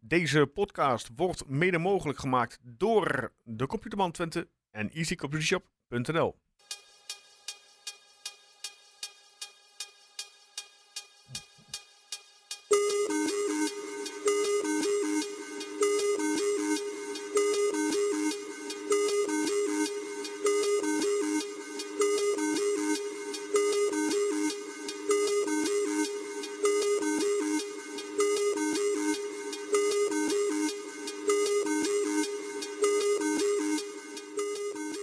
Deze podcast wordt mede mogelijk gemaakt door de Computerman Twente en easycomputershop.nl.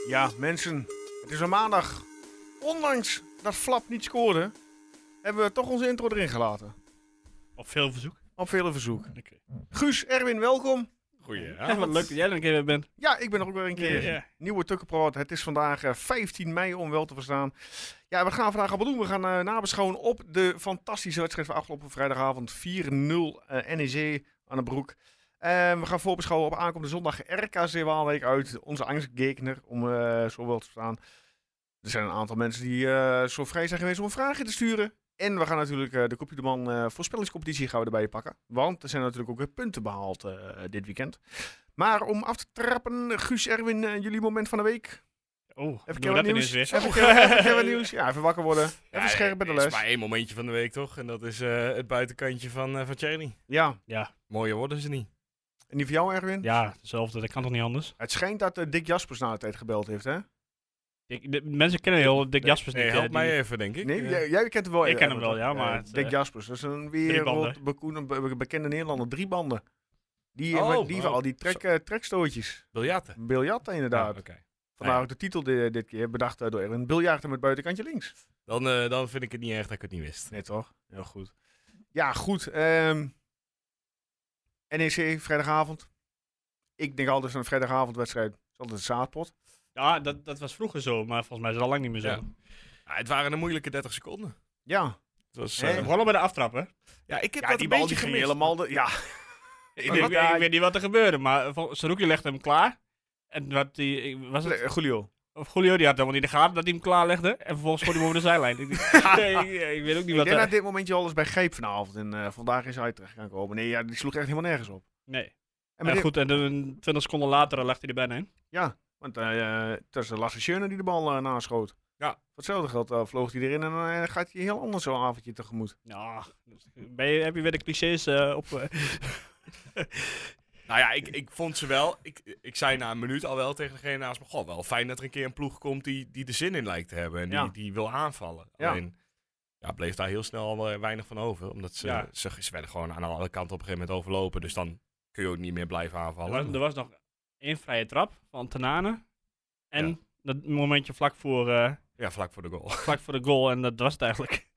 Ja, mensen, het is een maandag. Ondanks dat Flap niet scoorde, hebben we toch onze intro erin gelaten. Op veel verzoek. Op vele verzoek. Oké. Guus, Erwin, welkom. Ja, wat leuk dat jij er een keer weer bent. Ja, ik ben er ook weer een keer. Ja. Nieuwe Tukkenproot. Het is vandaag eh, 15 mei om wel te verstaan. Ja, we gaan vandaag allemaal doen. We gaan eh, nabeschouwen op de fantastische wedstrijd van afgelopen vrijdagavond. 4-0 eh, NEC aan de broek. Eh, we gaan voorbeschouwen op aankomende zondag RKC Waalwijk uit. Onze angstgekner, om eh, zo wel te verstaan. Er zijn een aantal mensen die eh, zo vrij zijn geweest om een vraagje te sturen. En we gaan natuurlijk eh, de Kopje de Man eh, voorspellingscompetitie gaan we erbij pakken. Want er zijn natuurlijk ook weer punten behaald eh, dit weekend. Maar om af te trappen, Guus, Erwin, eh, jullie moment van de week. Oh, Even doen keer wat we dat ineens nieuws. weer. Even keer- even keer wat nieuws. Ja, even wakker worden. Even Ja, scherp bij de er is maar les. één momentje van de week, toch? En dat is eh, het buitenkantje van, eh van Thierry. Ja, Ja, Mooier worden ze niet. en die van jou, Erwin? ja, hetzelfde. Dat kan toch niet anders? Het schijnt dat eh, Dick Jaspers na de tijd gebeld heeft, hè? Ik, de, mensen kennen heel Dick Dus Jaspers Nee, niet. help hè, mij die- even, denk ik. Nee, Eh, jij, jij kent hem wel. Ik ken hem Erwin, wel, toch? ja, maar Eh, het, Dick eh, Jaspers, dat is een driebanden. wereldbekoene- be- bekende Nederlander. Drie banden. Die, eh, Oh, maar die van oh. al die trek, eh, trekstootjes. biljarten. Biljarten Ja, inderdaad. Nou, Oké. Vandaar ja. ook de titel di- dit keer, bedacht eh, door Erwin. Biljarten met buitenkantje links. Dan, eh, dan vind ik het niet erg dat ik het niet wist. Nee, toch? Heel goed. Ja, goed. ehm, NEC, vrijdagavond. Ik denk altijd aan een vrijdagavondwedstrijd. Het is altijd een zaadpot. Ja, dat, dat was vroeger zo, maar volgens mij is het al lang niet meer zo. Ja. Ah, het waren een moeilijke 30 seconden. Ja. Het was, Hè? eh, Begonnen bij de aftrap, hè? ja, ik heb ja, dat die een bal beetje die ging gemist. helemaal... De, ja, Ik, wat ik, daar- ik weet niet wat er gebeurde, maar vol- Saruki legde hem klaar. En wat die, ik- was het, Julio. of Julio die had helemaal niet in de gaten dat hij hem klaar legde. En vervolgens schoot hij hem over de zijlijn. Ik, nee, ik, ik weet ook niet Ik wat denk er... dat dit momentje alles bij Gijp vanavond. En eh, vandaag is hij terecht gaan komen. Nee, ja, die sloeg echt helemaal nergens op. Nee. En En met dit- goed, en dan 20 seconden later lag hij er bijna in. Ja, want eh, eh, het was Lasse Schöne die de bal eh, naschoot. Ja. Voor hetzelfde geld eh, vloog hij erin en dan eh, gaat hij een heel ander zo'n avondje tegemoet. Ja, dus- ben je, heb je weer de clichés eh, op... eh, Nou ja, ik, ik vond ze wel... Ik, ik zei na een minuut al wel tegen degene naast me... Goh, wel fijn dat er een keer een ploeg komt die, die er zin in lijkt te hebben. En die, Ja. die wil aanvallen. Ja. Alleen... Ja, bleef daar heel snel al eh, weinig van over. Omdat ze, Ja. ze, ze werden gewoon aan alle kanten op een gegeven moment overlopen. Dus dan kun je ook niet meer blijven Er was, aanvallen. er was nog één vrije trap van Tenane. En Ja. dat momentje vlak voor, eh, Ja, vlak voor de goal. vlak voor de goal. En dat was het eigenlijk.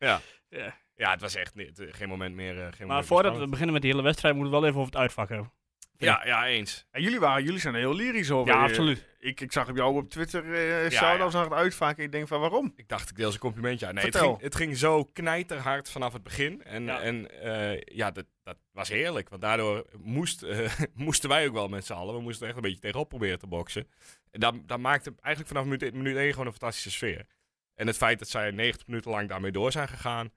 Ja, het was echt niet, geen moment meer. eh, geen moment maar meer voordat we spannend. beginnen met die hele wedstrijd, moeten we wel even over het uitvak hebben. Ja, ja, eens. En jullie, waren, jullie zijn er heel lyrisch over. Ja, Eh, absoluut. Ik, ik zag op jou op Twitter eh Ja, shout-outs ja. naar het uitvaken. Ik denk van waarom? Ik dacht, ik deel ze een complimentje aan. Nee, het Vertel. ging, het ging zo knijterhard vanaf het begin. En Ja. ja, en, eh, ja dat, dat was heerlijk. Want daardoor moest, eh, moesten wij ook wel met z'n allen. We moesten er echt een beetje tegenop proberen te boksen. En dat, dat maakte eigenlijk vanaf minuut, e-, minuut 1 gewoon een fantastische sfeer. En het feit dat zij 90 minuten lang daarmee door zijn gegaan.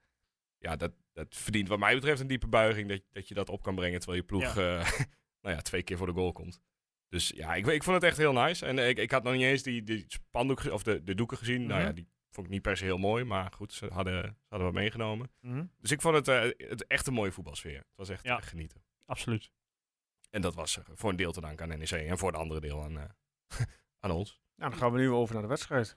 Ja, dat, dat verdient wat mij betreft een diepe buiging. Dat, dat je dat op kan brengen terwijl je ploeg eh, nou ja, twee keer voor de goal komt. Dus ja, ik, ik vond het echt heel nice. En eh, ik, ik had nog niet eens die, die spandoek ge- of de, de doeken gezien. Nou Mhm. ja, die vond ik niet per se heel mooi. Maar goed, ze hadden, ze hadden wat meegenomen. Mhm. Dus ik vond het, eh, het echt een mooie voetbalsfeer. Het was echt Ja. eh, genieten. Absoluut. En dat was eh, voor een deel te danken aan NEC. En voor een andere deel aan, eh, aan ons. Nou, dan gaan we nu over naar de wedstrijd.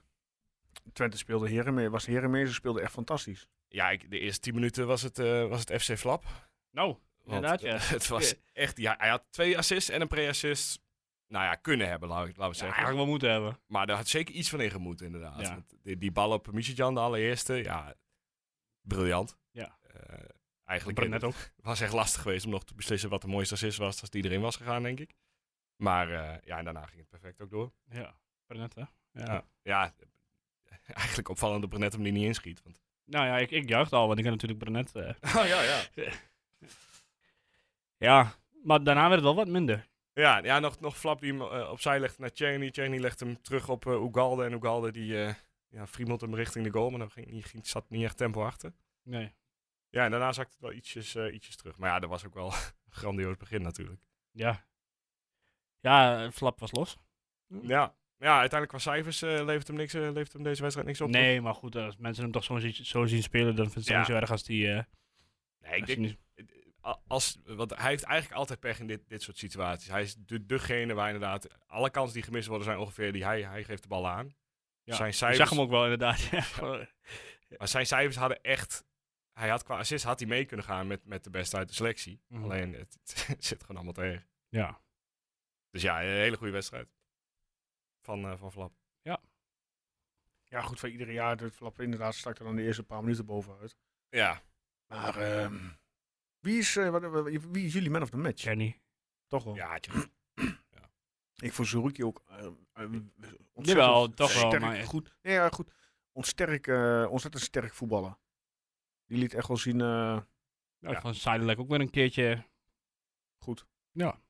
Twente speelde Herenmeer, was Herenmeer, ze speelde echt fantastisch. Ja, ik, de eerste 10 minuten was het, eh, was het FC Flap. Nou, Want, inderdaad, ja. eh, Het was echt, ja, hij had twee assists en een pre-assist. Nou ja, kunnen hebben, laat- laten we Ja, zeggen. eigenlijk wel moeten hebben. Maar daar had zeker iets van in gemoet, inderdaad. Ja. Want die, die bal op Michijan, de allereerste, ja, briljant. Ja. Eh, eigenlijk Ik net ook. was echt lastig geweest om nog te beslissen wat de mooiste assist was als die erin was gegaan, denk ik. Maar eh, ja, en daarna ging het perfect ook door. Ja, Brenet, hè? Ja. Ja, ja eigenlijk opvallend dat Brenet hem die niet inschiet. Want... Nou ja, ik, ik juichte al, want ik heb natuurlijk Brenet. eh. Oh ja, ja. Ja, maar daarna werd het wel wat minder. Ja, ja nog, nog Flap die hem eh, opzij legt naar Cheney. Cheney legt hem terug op eh Ugalde. En Ugalde die eh ja, friemelt hem richting de goal. Maar dan ging, niet- ging, zat niet echt tempo achter. Nee. Ja, en daarna zakte het wel ietsjes, eh, ietsjes terug. Maar ja, dat was ook wel een grandioos begin natuurlijk. Ja. Ja, eh, Flap was los. Ja, ja uiteindelijk qua cijfers eh, levert, hem niks, eh, levert hem deze wedstrijd niks op. nee, maar goed, als mensen hem toch zo, zien- zo zien spelen, dan vindt ze het Ja. niet zo erg als die... eh, toch? Nee, ik als die denk, eh, niet- a- als, want hij heeft eigenlijk altijd pech in dit, dit soort situaties. Hij is de, degene waar inderdaad alle kansen die gemist worden zijn ongeveer die hij, hij geeft de bal aan. Ja, Zijn ik cijfers, zag hem ook wel inderdaad. Ja, gewoon- Maar zijn cijfers hadden echt... Hij had qua assist had hij mee kunnen gaan met, met de beste uit de selectie. Mhm. Alleen het, het zit gewoon allemaal tegen. ja. Dus ja, een hele goede wedstrijd. Van, eh, van Flap. Ja, goed, van ieder jaar de flap inderdaad stak er dan de eerste paar minuten bovenuit. Ja, Maar ehm, wie, is, eh, wat- wat- wie is jullie man of the match? Jenny. Toch wel. ja had je- Ik vond Zerouki ook eh, eh, ontzettend Jawel, toch wel, sterk, maar echt- goed. Nee, ja, goed. Ontsterk, eh, ontzettend sterk voetballen. Die liet echt wel zien. eh, Nou, Ja. Van Seidelijk ook weer een keertje. Goed. Ja.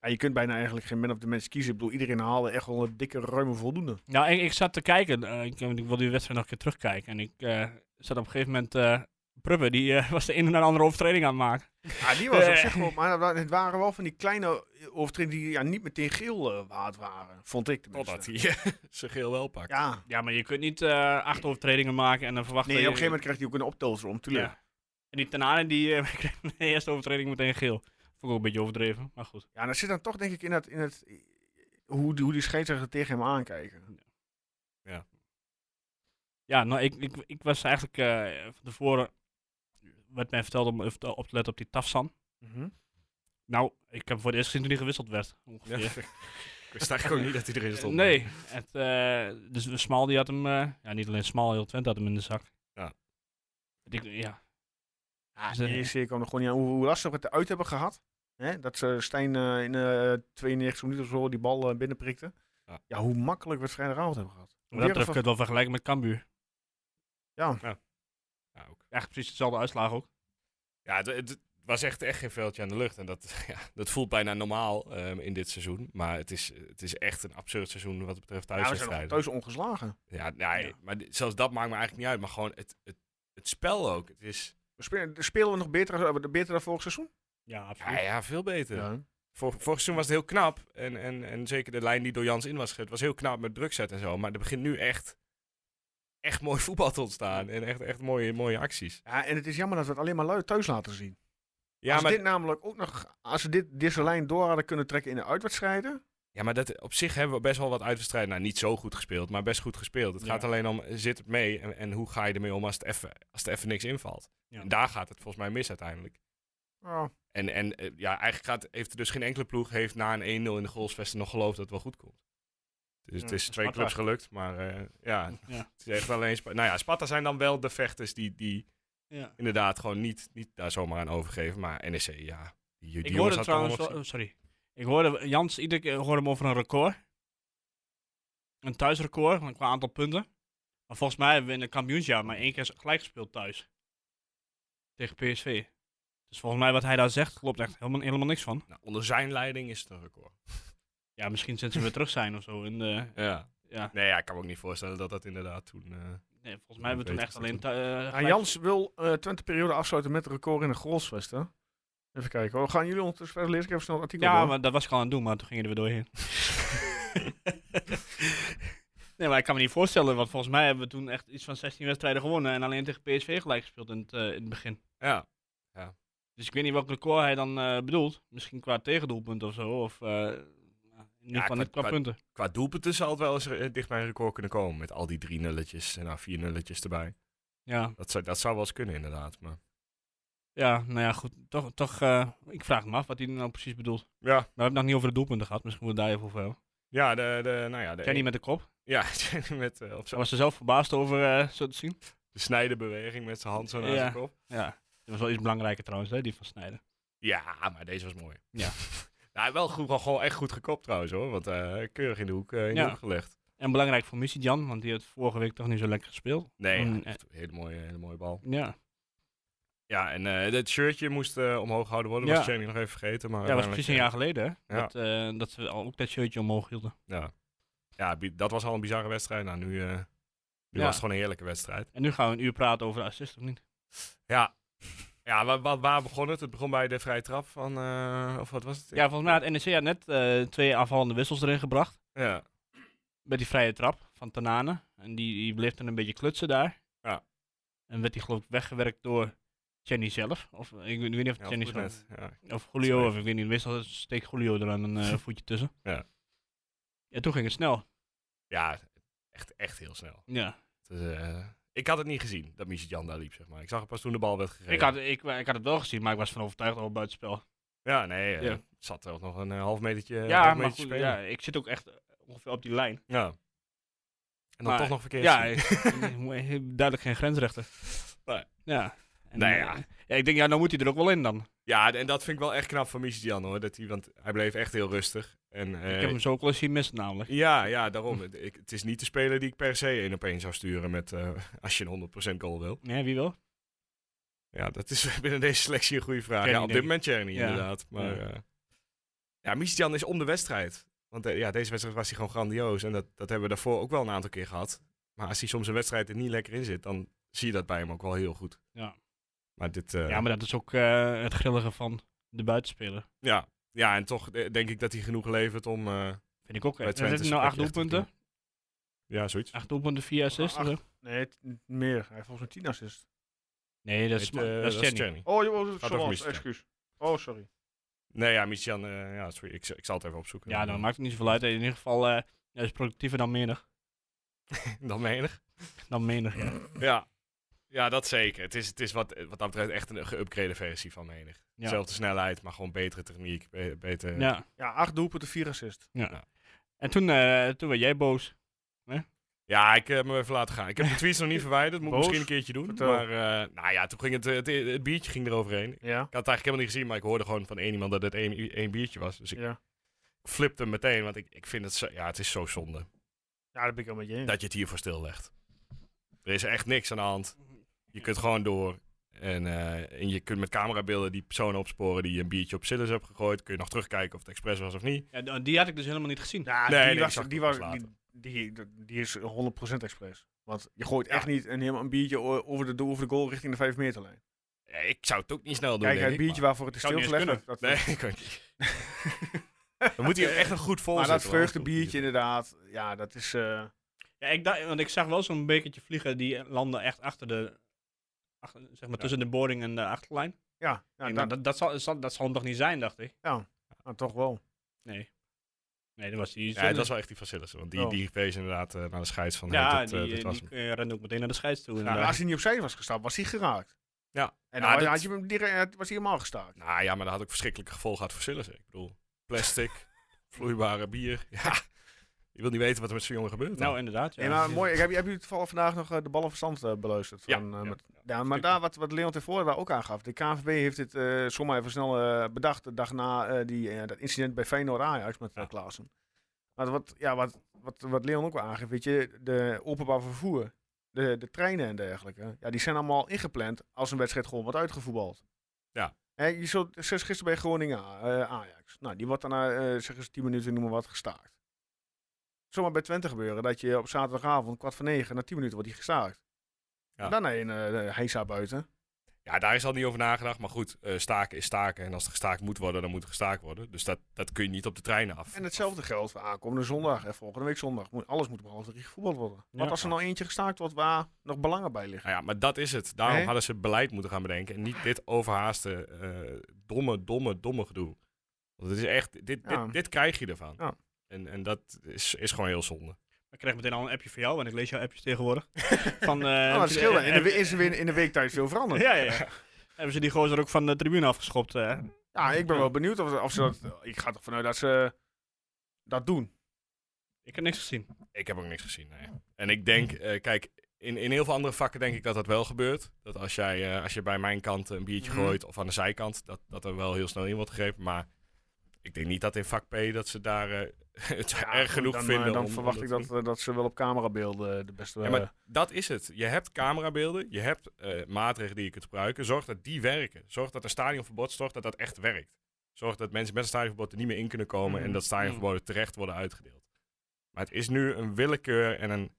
ja, je kunt bijna eigenlijk geen man of the match kiezen. Ik bedoel, iedereen haalde echt wel een dikke, ruime voldoende. Nou, ik, ik zat te kijken. eh, ik, want ik wilde die wedstrijd nog een keer terugkijken. En ik eh, zat op een gegeven moment... eh Prubbe, die eh, was de een en de andere overtreding aan het maken. Ja, die was op Eh. zich wel. Maar wa- het waren wel van die kleine eh, overtredingen die ja, niet meteen geel eh, waard waren. Vond ik tenminste. Totdat hij eh, zijn geel wel pakt. Ja. Ja, maar je kunt niet eh, acht overtredingen maken en dan verwachten... Nee, op een je- gegeven moment krijgt hij ook een optelsom, om. Tuurlijk. Ja. Ja. En die Tanane, die eh, kreeg de eerste overtreding meteen geel. Vond ik ook een beetje overdreven, maar goed. en dat zit dan toch denk ik in, dat, in het, hoe, die- hoe die scheidsrechter tegen hem aankijken. Ja, nou, ik, ik, ik was eigenlijk eh, van tevoren... werd mij verteld om even te- op te letten op die Tafsan. Mhm. Nou, ik heb voor het eerst gezien toen hij gewisseld werd, Ja. ongeveer. Ik wist eigenlijk ook niet dat hij erin stond. nee, het, eh, dus Smal die had hem, eh, ja niet alleen Smal, heel Twente had hem in de zak. Ja. Ik, ja. Ja, Dus, eh, de eerste keer kwam er gewoon niet aan. Hoe, hoe lastig we het eruit hebben gehad. Hè? Dat ze Stijn eh, in de 92 minuten of zo die bal eh, binnenprikte. Ja. Ja. hoe makkelijk we het vrijdagavond hebben gehad. wat dat betreft Weer kun je het wel vergelijken met Cambuur. Ja, Ja, ook. Eigenlijk precies dezelfde uitslag ook. ja het, het was echt, echt geen veldje aan de lucht. En dat, ja, dat voelt bijna normaal ehm, in dit seizoen. Maar het is, het is echt een absurd seizoen wat betreft ja, we zijn nog thuiswedstrijden. thuis ongeslagen. Ja, nee, Ja. maar di- zelfs dat maakt me eigenlijk niet uit. Maar gewoon het, het, het spel ook. Het is We spelen, spelen we nog beter, als- eh, beter dan vorig seizoen? Ja, ja, ja, veel beter. Ja. Vor, vorig seizoen was het heel knap. En, en, en zeker de lijn die door Jans in was gezet, was heel knap met druk zetten en zo. Maar er begint nu echt, echt mooi voetbal te ontstaan. En echt, echt mooie, mooie acties. ja, en het is jammer dat we het alleen maar lui thuis laten zien. Ja, als maar, dit namelijk ook nog, als ze dit, deze lijn door hadden kunnen trekken in de uitwedstrijden. ja, maar dat, op zich hebben we best wel wat uitwedstrijden. Nou, niet zo goed gespeeld, maar best goed gespeeld. Het Ja. gaat alleen om, zit het mee en, en hoe ga je ermee om als het even, als het even niks invalt. Ja. En daar gaat het volgens mij mis uiteindelijk. Oh, En, en eh, ja, eigenlijk gaat, heeft er dus geen enkele ploeg heeft na een 1-0 in de goalsvesten nog geloofd dat het wel goed komt. Dus het Ja, is twee Sparta. clubs gelukt, maar eh, ja, Ja. het is echt alleen... Spa- nou ja, Sparta zijn dan wel de vechters die, die ja. inderdaad gewoon niet, niet daar zomaar aan overgeven. Maar NEC, ja, die, die Ik jongens hoorde hadden trouwens allemaal wel, oh, sorry. Ik hoorde Jans iedere keer hoorde hem over een record. Een thuisrecord, want qua aantal punten. Maar volgens mij hebben we in het kampioensjaar maar één keer gelijk gespeeld thuis. Tegen PSV. Dus volgens mij wat hij daar zegt, klopt echt helemaal, helemaal niks van. Nou, onder zijn leiding is het een record. Ja, misschien sinds ze weer terug zijn of zo. En, eh, Ja. ja. Nee, ja, ik kan me ook niet voorstellen dat dat inderdaad toen... eh, nee, volgens mij hebben we toen echt alleen... thu- eh, Ja, gelijk- Jans wil eh Twente periode afsluiten met een record in de goalsvesten. Even kijken hoor. Gaan jullie ondertussen verder lezen? Ik heb even snel het artikel Ja, door. maar dat was ik al aan het doen, maar toen gingen we er weer doorheen. nee, maar ik kan me niet voorstellen, want volgens mij hebben we toen echt iets van 16 wedstrijden gewonnen en alleen tegen PSV gelijk gespeeld in het, eh, in het begin. ja, Dus ik weet niet welk record hij dan eh, bedoelt. Misschien qua tegendoelpunt of zo, of eh, nou, in ieder qua- geval niet qua, qua- punten. qua doelpunten zal het wel eens eh, dicht bij een record kunnen komen. Met al die drie nulletjes en nou vier nulletjes erbij. Ja, Dat zou, dat zou wel eens kunnen inderdaad, maar... ja, nou ja, goed. Toch, toch eh, ik vraag me af wat hij nou precies bedoelt. Maar Ja, we hebben het nog niet over de doelpunten gehad, misschien moeten we daar even over hebben. Ja, de, de, nou ja, de, Kenny met de kop. ja, Jenny met eh, op Ze zijn was er zelf verbaasd over, eh, zo te zien. de snijdenbeweging met zijn hand zo naar Ja. zijn kop. Ja, dat was wel iets belangrijker trouwens, hè, die van Snijden. Ja, maar deze was mooi. Ja. nou, wel, goed, wel gewoon echt goed gekopt trouwens hoor, want eh, keurig in de hoek, eh, in Ja. de hoek gelegd. En belangrijk voor Missy Jan, want die heeft vorige week toch niet zo lekker gespeeld. Nee, Mm, ja, eh. echt een hele mooie, hele mooie bal. Ja, Ja, en eh dat shirtje moest eh, omhoog gehouden worden, Ja. was Jenny nog even vergeten. Maar ja dat was uiteindelijk, precies een jaar geleden hè, Ja. dat, eh, dat ze al ook dat shirtje omhoog hielden. eh, Ja, ja bi- dat was al een bizarre wedstrijd. Nou, nu, eh, Ja. nu was het gewoon een heerlijke wedstrijd. En nu gaan we een uur praten over de assist, of niet? Ja. Ja, waar, waar, waar begon het? Het begon bij de vrije trap van, eh, of wat was het? Ja, volgens mij had NEC had net eh, twee aanvallende wissels erin gebracht. Ja. met die vrije trap van Tanane. En die, die bleef dan een beetje klutsen daar. Ja. En werd die geloof ik weggewerkt door Jenny zelf. Of eh, ik weet ik weet niet of Ja, het Jenny goed zelf... net. Ja. Of Julio, Sorry. of ik weet niet. Meestal steekt Julio er dan een eh, voetje tussen. Ja. Ja, toen ging het snel. Ja, echt, echt heel snel. Ja. Het is, eh, ik had het niet gezien dat Michel Jan daar liep, zeg maar. Ik zag het pas toen de bal werd gegeven. Ik, had, ik, ik had het wel gezien, maar ik was van overtuigd over buitenspel. Ja, nee, eh, Ja. het zat er ook nog een eh, half metertje, ja, half maar metertje goed, spelen. ja, ik zit ook echt eh, ongeveer op die lijn. Ja. En dan Maar- toch nog verkeerd Ja, zien. ik- ik- duidelijk geen grensrechter. Nee. Ja. En, Nou eh, ja. ja. Ik denk, ja, nou moet hij er ook wel in dan. Ja, en dat vind ik wel echt knap van Michel Jan, hoor. Dat hij, want hij bleef echt heel rustig. En, eh, ik heb hem zo ook wel eens zien missen namelijk. Ja, ja, daarom. Het- ik, het is niet de speler die ik per se één op één zou sturen met, eh, als je een 100% goal wil. Ja, wie wil? Ja, dat is binnen deze selectie een goede vraag. Kenny, ja, op dit denk moment Cherny Ja. inderdaad. Maar Ja. ja, ja Michijan is om de wedstrijd. Want eh, ja, deze wedstrijd was hij gewoon grandioos. En dat, dat hebben we daarvoor ook wel een aantal keer gehad. Maar als hij soms een wedstrijd er niet lekker in zit, dan zie je dat bij hem ook wel heel goed. Ja. Maar dit... eh, Ja, maar dat is ook eh, het grillige van de buitenspeler. ja. ja, en toch eh, denk ik dat hij genoeg levert om... eh, Vind ik ook. Bij Er Twente zitten nou sprak acht je echt een doelpunten. ja, zoiets. Acht doelpunten, vier assists. Acht. hè? Nee, t- meer. Hij heeft volgens mij 10 assist. Nee, dat is, Dit, Ma- eh, dat is Tjerni. Tjerny. Oh, joh, Gaat over sorry, Mistral. excuus. Oh, sorry. Nee, ja, Michijan... eh, ja, sorry, ik, ik zal het even opzoeken. Ja, dat maakt het niet zoveel uit. In ieder geval, eh, hij is productiever dan menig. Dan menig. Dan menig, ja. Ja. Ja, dat zeker. Het is, het is wat, wat dat betreft echt een geüpgrade versie van menig. Ja. Zelfde snelheid, maar gewoon betere techniek, be- beter... ja. Ja, 8 doelpunten, 4 assist. En toen, eh, toen werd jij boos. Ja, ik heb me even laten gaan. Ik heb de tweets nog niet verwijderd, moet ik Boos? misschien een keertje doen. Vertel. Maar eh, nou ja, toen ging het, het, het biertje ging eroverheen. Ja. Ik had het eigenlijk helemaal niet gezien, maar ik hoorde gewoon van één iemand dat het één, één biertje was. Dus ik Ja. flipte hem meteen, want ik, ik vind het zo, ja, het is zo zonde ja, dat ben ik al met je eens. dat je het hiervoor stillegt. Er is echt niks aan de hand. Mhm. Je kunt gewoon door. En, eh, en je kunt met camerabeelden die personen opsporen die een biertje op Sillis hebben gegooid. Kun je nog terugkijken of het expres was of niet. Ja, d- die had ik dus helemaal niet gezien. Ja, Nee, die, nee, die was, zag ik die, ook was, pas die, die, die is 100% expres. Want je gooit Ja. echt niet een, helemaal een biertje o- over de, over de goal richting de 5 meterlijn. Ja, ik zou het ook niet snel doen. Kijk, denk het ik, biertje maar- waarvoor het is Zou niet eens stilgelegd. Dat, Nee, ik kan niet. Dan moet hij echt een goed vol maar dat zitten, hoor. vreugdebiertje inderdaad, ja, dat is... eh, Ja, ik dacht, want ik zag wel zo'n bekertje vliegen. Die landde echt achter de... Achter, zeg maar tussen de boarding en de achterlijn. ja, Ja, ja dat, dat, dat, zal, zal- dat zal hem toch niet zijn, dacht ik. nou, toch wel. Nee, dat was die... Ja, dat was wel echt die Facilissen. Want die, Oh. die wees inderdaad eh, naar de scheids van. Ja, hey, dit, die, eh, eh, dit was die hem. eh, rende ook meteen naar de scheids toe. eh, Maar inderdaad. Nou, als hij niet opzij was gestapt, was hij geraakt. Ja. En Ja, dan had- dat- had je hem direct, was hij helemaal gestaakt. Nou ja, maar dat had ook verschrikkelijke gevolgen gehad voor Sillissen. Ik bedoel, plastic, vloeibare bier. Ja, je wil niet weten wat er met zo'n jongen gebeurt. Nou, inderdaad. Ja. Nee, maar mooi. Ik heb, heb jullie toevallig vandaag nog eh, de ballenverstand eh, beluisterd? Ja, Van, eh, ja, met- ja, maar daar, wat, wat Leon tevoren daar ook aangaf. De KNVB heeft dit eh zomaar even snel eh, bedacht. De dag na eh, die, eh, dat incident bij Feyenoord Ajax met eh, Ja. Klaassen. Maar wat, ja, wat, wat, wat Leon ook wel aangeeft, weet je, de openbaar vervoer, de, de treinen en dergelijke. Ja, die zijn allemaal ingepland als een wedstrijd gewoon wordt uitgevoetbald. Ja. Hè, je zult, zes gisteren bij Groningen eh, Ajax. Nou, die wordt daarna, eh zeg eens, 10 minuten, noem maar wat, gestaakt zomaar bij Twente gebeuren. Dat je op zaterdagavond kwart voor negen, na tien minuten wordt hij gestaakt. Ja. En dan een eh heisa buiten. Ja, daar is al niet over nagedacht. Maar goed, eh, staken is staken. En als er gestaakt moet worden, dan moet er gestaakt worden. Dus dat, dat kun je niet op de trein af. En hetzelfde geldt voor aankomende zondag en volgende week zondag. Moet, alles moet behalve drie gevoetbald worden. Want Ja. als er nou eentje gestaakt wordt waar nog belangen bij liggen. Nou ja, maar dat is het. Daarom Nee. hadden ze beleid moeten gaan bedenken. En niet dit overhaaste, eh, domme, domme, domme gedoe. Want het is echt, dit, Ja. dit, dit krijg je ervan. Ja. En, en dat is, is gewoon heel zonde. Ik kreeg meteen al een appje van jou, want ik lees jouw appjes tegenwoordig. Van, eh, nou, dat hebben ze- scheelt. In de, we- eh, is er weer in de weektijd veel veranderd. Ja, ja, ja. Hebben ze die gozer ook van de tribune afgeschopt? eh? Ja, ik ben wel benieuwd of, of ze dat... Ik ga ervan uit dat ze dat doen. Ik heb niks gezien. Ik heb ook niks gezien, nee. En ik denk, eh, kijk, in, in heel veel andere vakken denk ik dat dat wel gebeurt. Dat als jij eh, als je bij mijn kant een biertje Mhm. gooit of aan de zijkant, dat, dat er wel heel snel in wordt gegrepen. Maar ik denk niet dat in vak P dat ze daar eh, het Ja, erg goed, genoeg dan, eh, vinden. Dan om- om verwacht ik te doen. dat, eh, dat ze wel op camerabeelden de beste... Ja, eh, maar dat is het. Je hebt camerabeelden, je hebt eh, maatregelen die je kunt gebruiken. Zorg dat die werken. Zorg dat een stadionverbod, zorg dat dat echt werkt. Zorg dat mensen met een stadionverbod er niet meer in kunnen komen Mhm. en dat stadionverboden terecht worden uitgedeeld. Maar het is nu een willekeur en een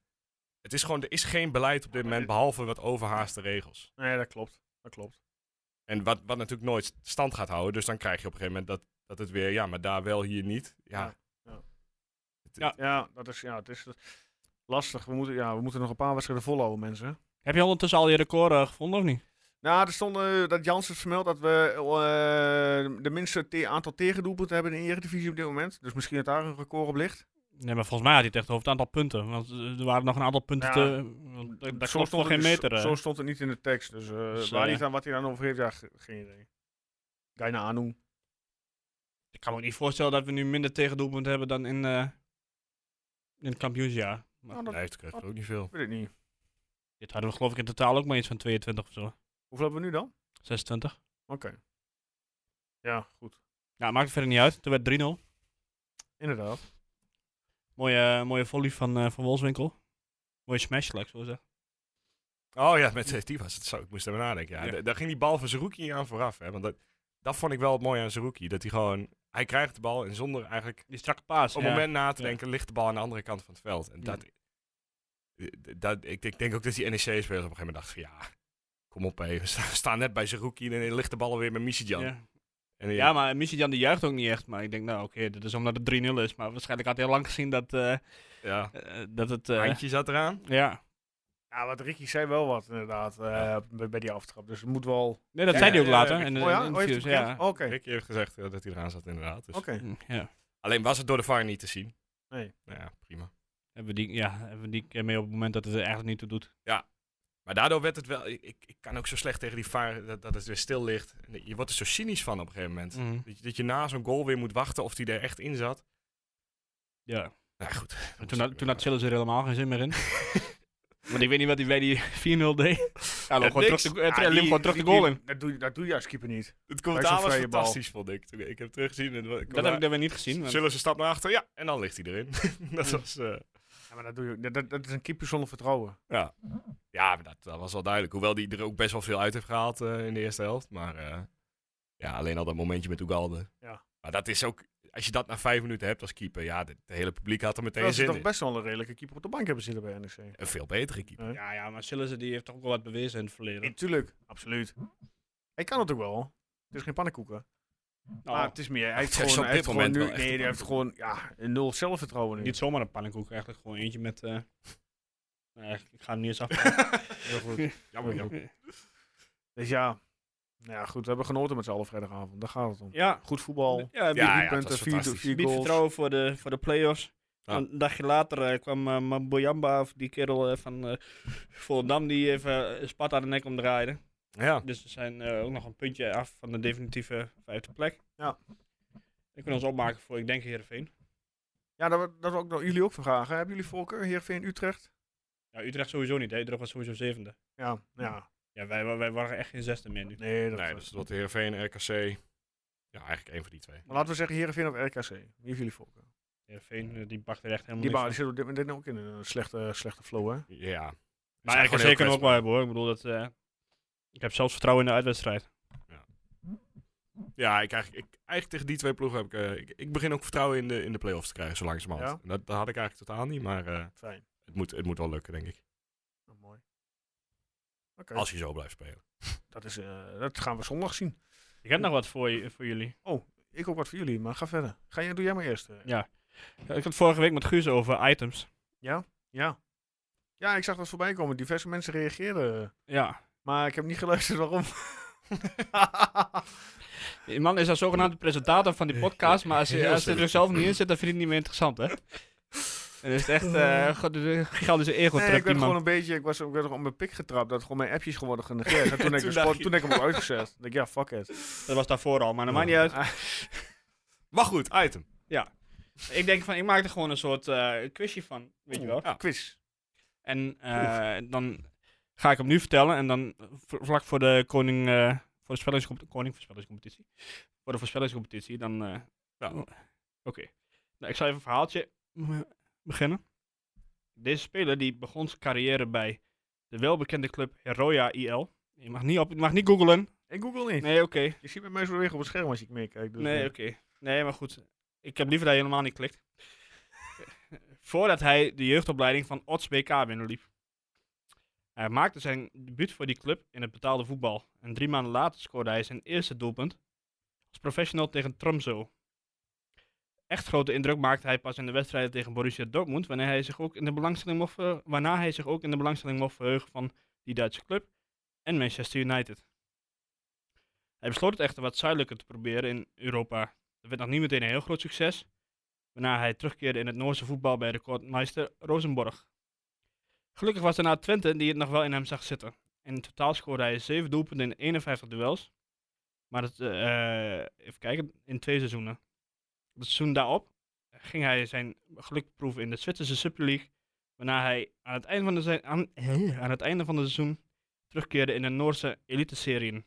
Het is gewoon, er is geen beleid op dit moment behalve wat overhaaste regels. Nee, dat klopt. Dat klopt. En wat, wat natuurlijk nooit stand gaat houden. Dus dan krijg je op een gegeven moment dat, dat het weer, ja, maar daar wel, hier niet. Ja. Ja, ja. Het- Ja. Ja, dat is, ja, het is lastig. We moeten, ja, we moeten nog een paar wedstrijden volhouden, mensen. Heb je ondertussen al je record eh, gevonden of niet? Nou, er stond eh, dat Jans het vermeld dat we eh, de minste te- aantal tegendoelpunten hebben in de Eredivisie op dit moment. Dus misschien dat daar een record op ligt. Nee, maar volgens mij had hij het echt over het aantal punten. Want eh, er waren nog een aantal punten Ja. te... want Daar, daar Zo klopt stond nog geen het- dus- meter. eh. Zo, zo stond het niet in de tekst. Dus, eh, Dus, waar eh, hij het aan wat hij dan over heeft, ja, ge- geen idee. Ga je naar aandoen. Ik kan me ook niet voorstellen dat we nu minder tegendoelpunten hebben dan in, eh, in het kampioensjaar. Maar Nou, dat Nee, dat krijgt er ook niet veel. weet ik niet. Dit hadden we geloof ik in totaal ook maar iets van 22 of zo. Hoeveel hebben we nu dan? 26. Oké. Ja, goed. Ja, maakt verder niet uit. Toen werd 3-0. Inderdaad. Mooie, eh, mooie volley van, eh, van Wolfswinkel. Mooie smash, laat ik zo zeggen. Oh ja, met, eh, die was het zo. Ik moest even nadenken. Ja. Ja. Da- Daar ging die bal van Zerouki aan vooraf. Hè? Want dat, dat vond ik wel het mooie aan Zerouki. Dat hij gewoon, hij krijgt de bal en zonder eigenlijk Die strakke paas. op ja. het moment na te Ja. denken, ligt de bal aan de andere kant van het veld. En Ja. dat, eh, dat, ik, ik denk ook dat die NEC-spelers op een gegeven moment dachten van ja, kom op even. We sta- staan net bij Zerouki en dan ligt de bal weer met Michijan. Ja. En, eh, ja, maar Michel Jan die juicht ook niet echt. Maar ik denk, nou oké, dit is omdat het 3-0 is. Maar waarschijnlijk had hij al lang gezien dat, eh, ja, eh, dat het... eh, handje zat eraan. ja. Ja, wat Ricky zei wel wat, inderdaad, eh, bij, bij die aftrap. Dus het moet wel... Nee, dat Ja, zei hij ook ja, later. ja, in de, oh ja? in Oh, de heeft hij interviews, het ja. bekend? Oké. Rick heeft gezegd eh, dat hij eraan zat inderdaad. Dus. Oké. Mm, ja. Alleen was het door de VAR niet te zien. Nee. Nou ja, prima. Hebben we die, ja, hebben we die keer mee op het moment dat het er eigenlijk niet toe doet. Maar daardoor werd het wel. Ik, ik- ik kan ook zo slecht tegen die vaar dat, dat het weer stil ligt. En Je wordt er zo cynisch van op een gegeven Mm. moment. Dat, je, dat je na zo'n goal weer moet wachten of die er echt in zat. Ja. Nou goed. En toen, had- toen had Sillis er helemaal geen zin meer in. Want ik weet niet wat hij bij die 4-0 deed. Ja, Ja, loopt gewoon terug niks. de, eh, Ja, tre- liep die- gewoon terug de die- goal die- in. Dat doe, je- dat doe je als keeper niet. Het Bij commentaar zo'n was vrije bal. fantastisch, vond ik. Toen- ik heb het teruggezien. En, het- Dat heb ik dan weer niet gezien. want- Zullen ze stap naar achter? Ja, en dan ligt hij erin. Mm. dat was. eh, Ja, maar dat, doe je, dat- dat, dat is een keeper zonder vertrouwen. ja, ja maar dat, dat was wel duidelijk. Hoewel die er ook best wel veel uit heeft gehaald eh, in de eerste helft. Maar eh, ja, alleen al dat momentje met Ugalde. Ja. Maar dat is ook. Als je dat na vijf minuten hebt als keeper, ja, het hele publiek had er meteen Dat ze zin toch in. best wel een redelijke keeper op de bank hebben zitten bij NEC. Een veel betere keeper. Ja, ja, maar Sillis die heeft toch ook wel wat bewezen in het verleden. Natuurlijk, absoluut. Hij kan het ook wel. Het is geen pannenkoeken. Nou, Maar het is meer, hij heeft Het Oh. is gewoon, op hij heeft dit gewoon moment nu, wel echt nee, een hij heeft gewoon ja, een nul zelfvertrouwen nu. niet zomaar een pannenkoek, eigenlijk gewoon eentje met... eh, nou, eigenlijk, ik ga hem niet eens af. Heel goed. Jammer, jammer. Dus ja, nou ja, goed, we hebben genoten met z'n allen vrijdagavond. Daar gaat het om. ja, Goed voetbal, ja, Ja, drie het was punten, vier, fantastisch. vier Biedt goals. vertrouwen voor de, voor de play-offs. Ja. Een dagje later eh, kwam eh Maboyamba, of die kerel eh, van eh Volendam, die even eh, Sparta de nek omdraaide. Ja. Dus we zijn eh, ook nog een puntje af van de definitieve vijfde plek. Ja. We kunnen ons opmaken voor, ik denk, Heerenveen. Ja, dat, we- dat we ook nog jullie ook vragen. Hebben jullie voorkeur, Heerenveen, Utrecht? Ja, Utrecht sowieso niet. Hè. Utrecht was sowieso zevende. Ja, ja. Ja, wij, wij, wij waren echt geen zesde meer nu. Nee, dat, Nee, dus wat Heerenveen, RKC. Ja, eigenlijk één van die twee. Maar laten we zeggen Heerenveen of RKC. Wie heeft jullie voorkeur? Heerenveen, eh, die bakte er echt helemaal Die, ba- die niks zitten op dit moment ook in een eh, slechte, slechte flow, hè? Ja. van. Maar RKC kunnen we ook wel hebben hoor. Ik bedoel, dat, eh, ik heb zelfs vertrouwen in de uitwedstrijd. Ja, ik eigenlijk, ik, eigenlijk tegen die twee ploegen heb ik, eh, ik... Ik begin ook vertrouwen in de, in de play-offs te krijgen, zo langzamerhand. Ja. En Dat, dat had ik eigenlijk totaal niet, maar eh, Fijn. het, moet, het moet wel lukken, denk ik. Oh, mooi. Oké, Als je zo blijft spelen. dat, is, eh, dat gaan we zondag zien. Ik heb nog wat voor, je- voor jullie. Ik ook wat voor jullie, maar ga verder. Ga jij, doe jij maar eerst. eh. Ja. Ik had het vorige week met Guus over items. Ja. Ja, ik zag dat voorbij komen. Diverse mensen reageerden. eh, Ja. Maar ik heb niet geluisterd waarom. Die man is een zogenaamde presentator van Eh, die podcast, maar als, je Heel als hij er slecht. zelf niet in zit, dan vind ik het niet meer interessant, hè? En is het echt eh, god- een gigantische nee, ik ego-trap, werd die gewoon man. een beetje. Ik, was, ik werd op mijn pik getrapt. Dat gewoon mijn appjes gewoon worden genegeerd. En toen, heb ik Toen de dacht sport- je- toen heb ik hem uitgezet. Ik dacht, ja, fuck it. Dat was daarvoor al, maar dat maakt niet uit. Ah, Maar goed, item. Ik denk van, ik maak er gewoon een soort eh, quizje van, weet je wel. Ja. quiz. En eh, dan ga ik hem nu vertellen en dan v- vlak voor de koning, eh, voor de spellingscompetitie, koning voorspellingscompetitie, voor de voorspellingscompetitie, dan, eh, Ja. oké. Nou, ik zal even een verhaaltje eh, beginnen. Deze speler die begon zijn carrière bij de welbekende club Heroia IL. Je mag niet, op, je mag niet googlen. Ik google niet. Nee, oké. Je ziet bij mij zo weer op het scherm als ik meekijk. Dus Nee, eh, oké. Nee, maar goed. Ik heb liever dat je helemaal niet klikt. voordat hij de jeugdopleiding van Ots BK binnenliep. Hij maakte zijn debuut voor die club in het betaalde voetbal. En drie maanden later scoorde hij zijn eerste doelpunt als professional tegen Tromso. Echt grote indruk maakte hij pas in de wedstrijden tegen Borussia Dortmund, wanneer hij zich ook in de belangstelling mocht, ver- waarna hij zich ook in de belangstelling mocht verheugen van die Duitse club en Manchester United. Hij besloot het echter wat zuidelijker te proberen in Europa. Dat werd nog niet meteen een heel groot succes, waarna hij terugkeerde in het Noorse voetbal bij recordmeister Rosenborg. Gelukkig was daarna Twente die het nog wel in hem zag zitten. In totaal scoorde hij 7 doelpunten in 51 duels. Maar het, eh, eh, even kijken, in twee seizoenen. Het seizoen daarop ging hij zijn geluk proeven in de Zwitserse Super League. Waarna hij aan het einde van, de se- aan, aan het einde van het seizoen terugkeerde in de Noorse elite-serien.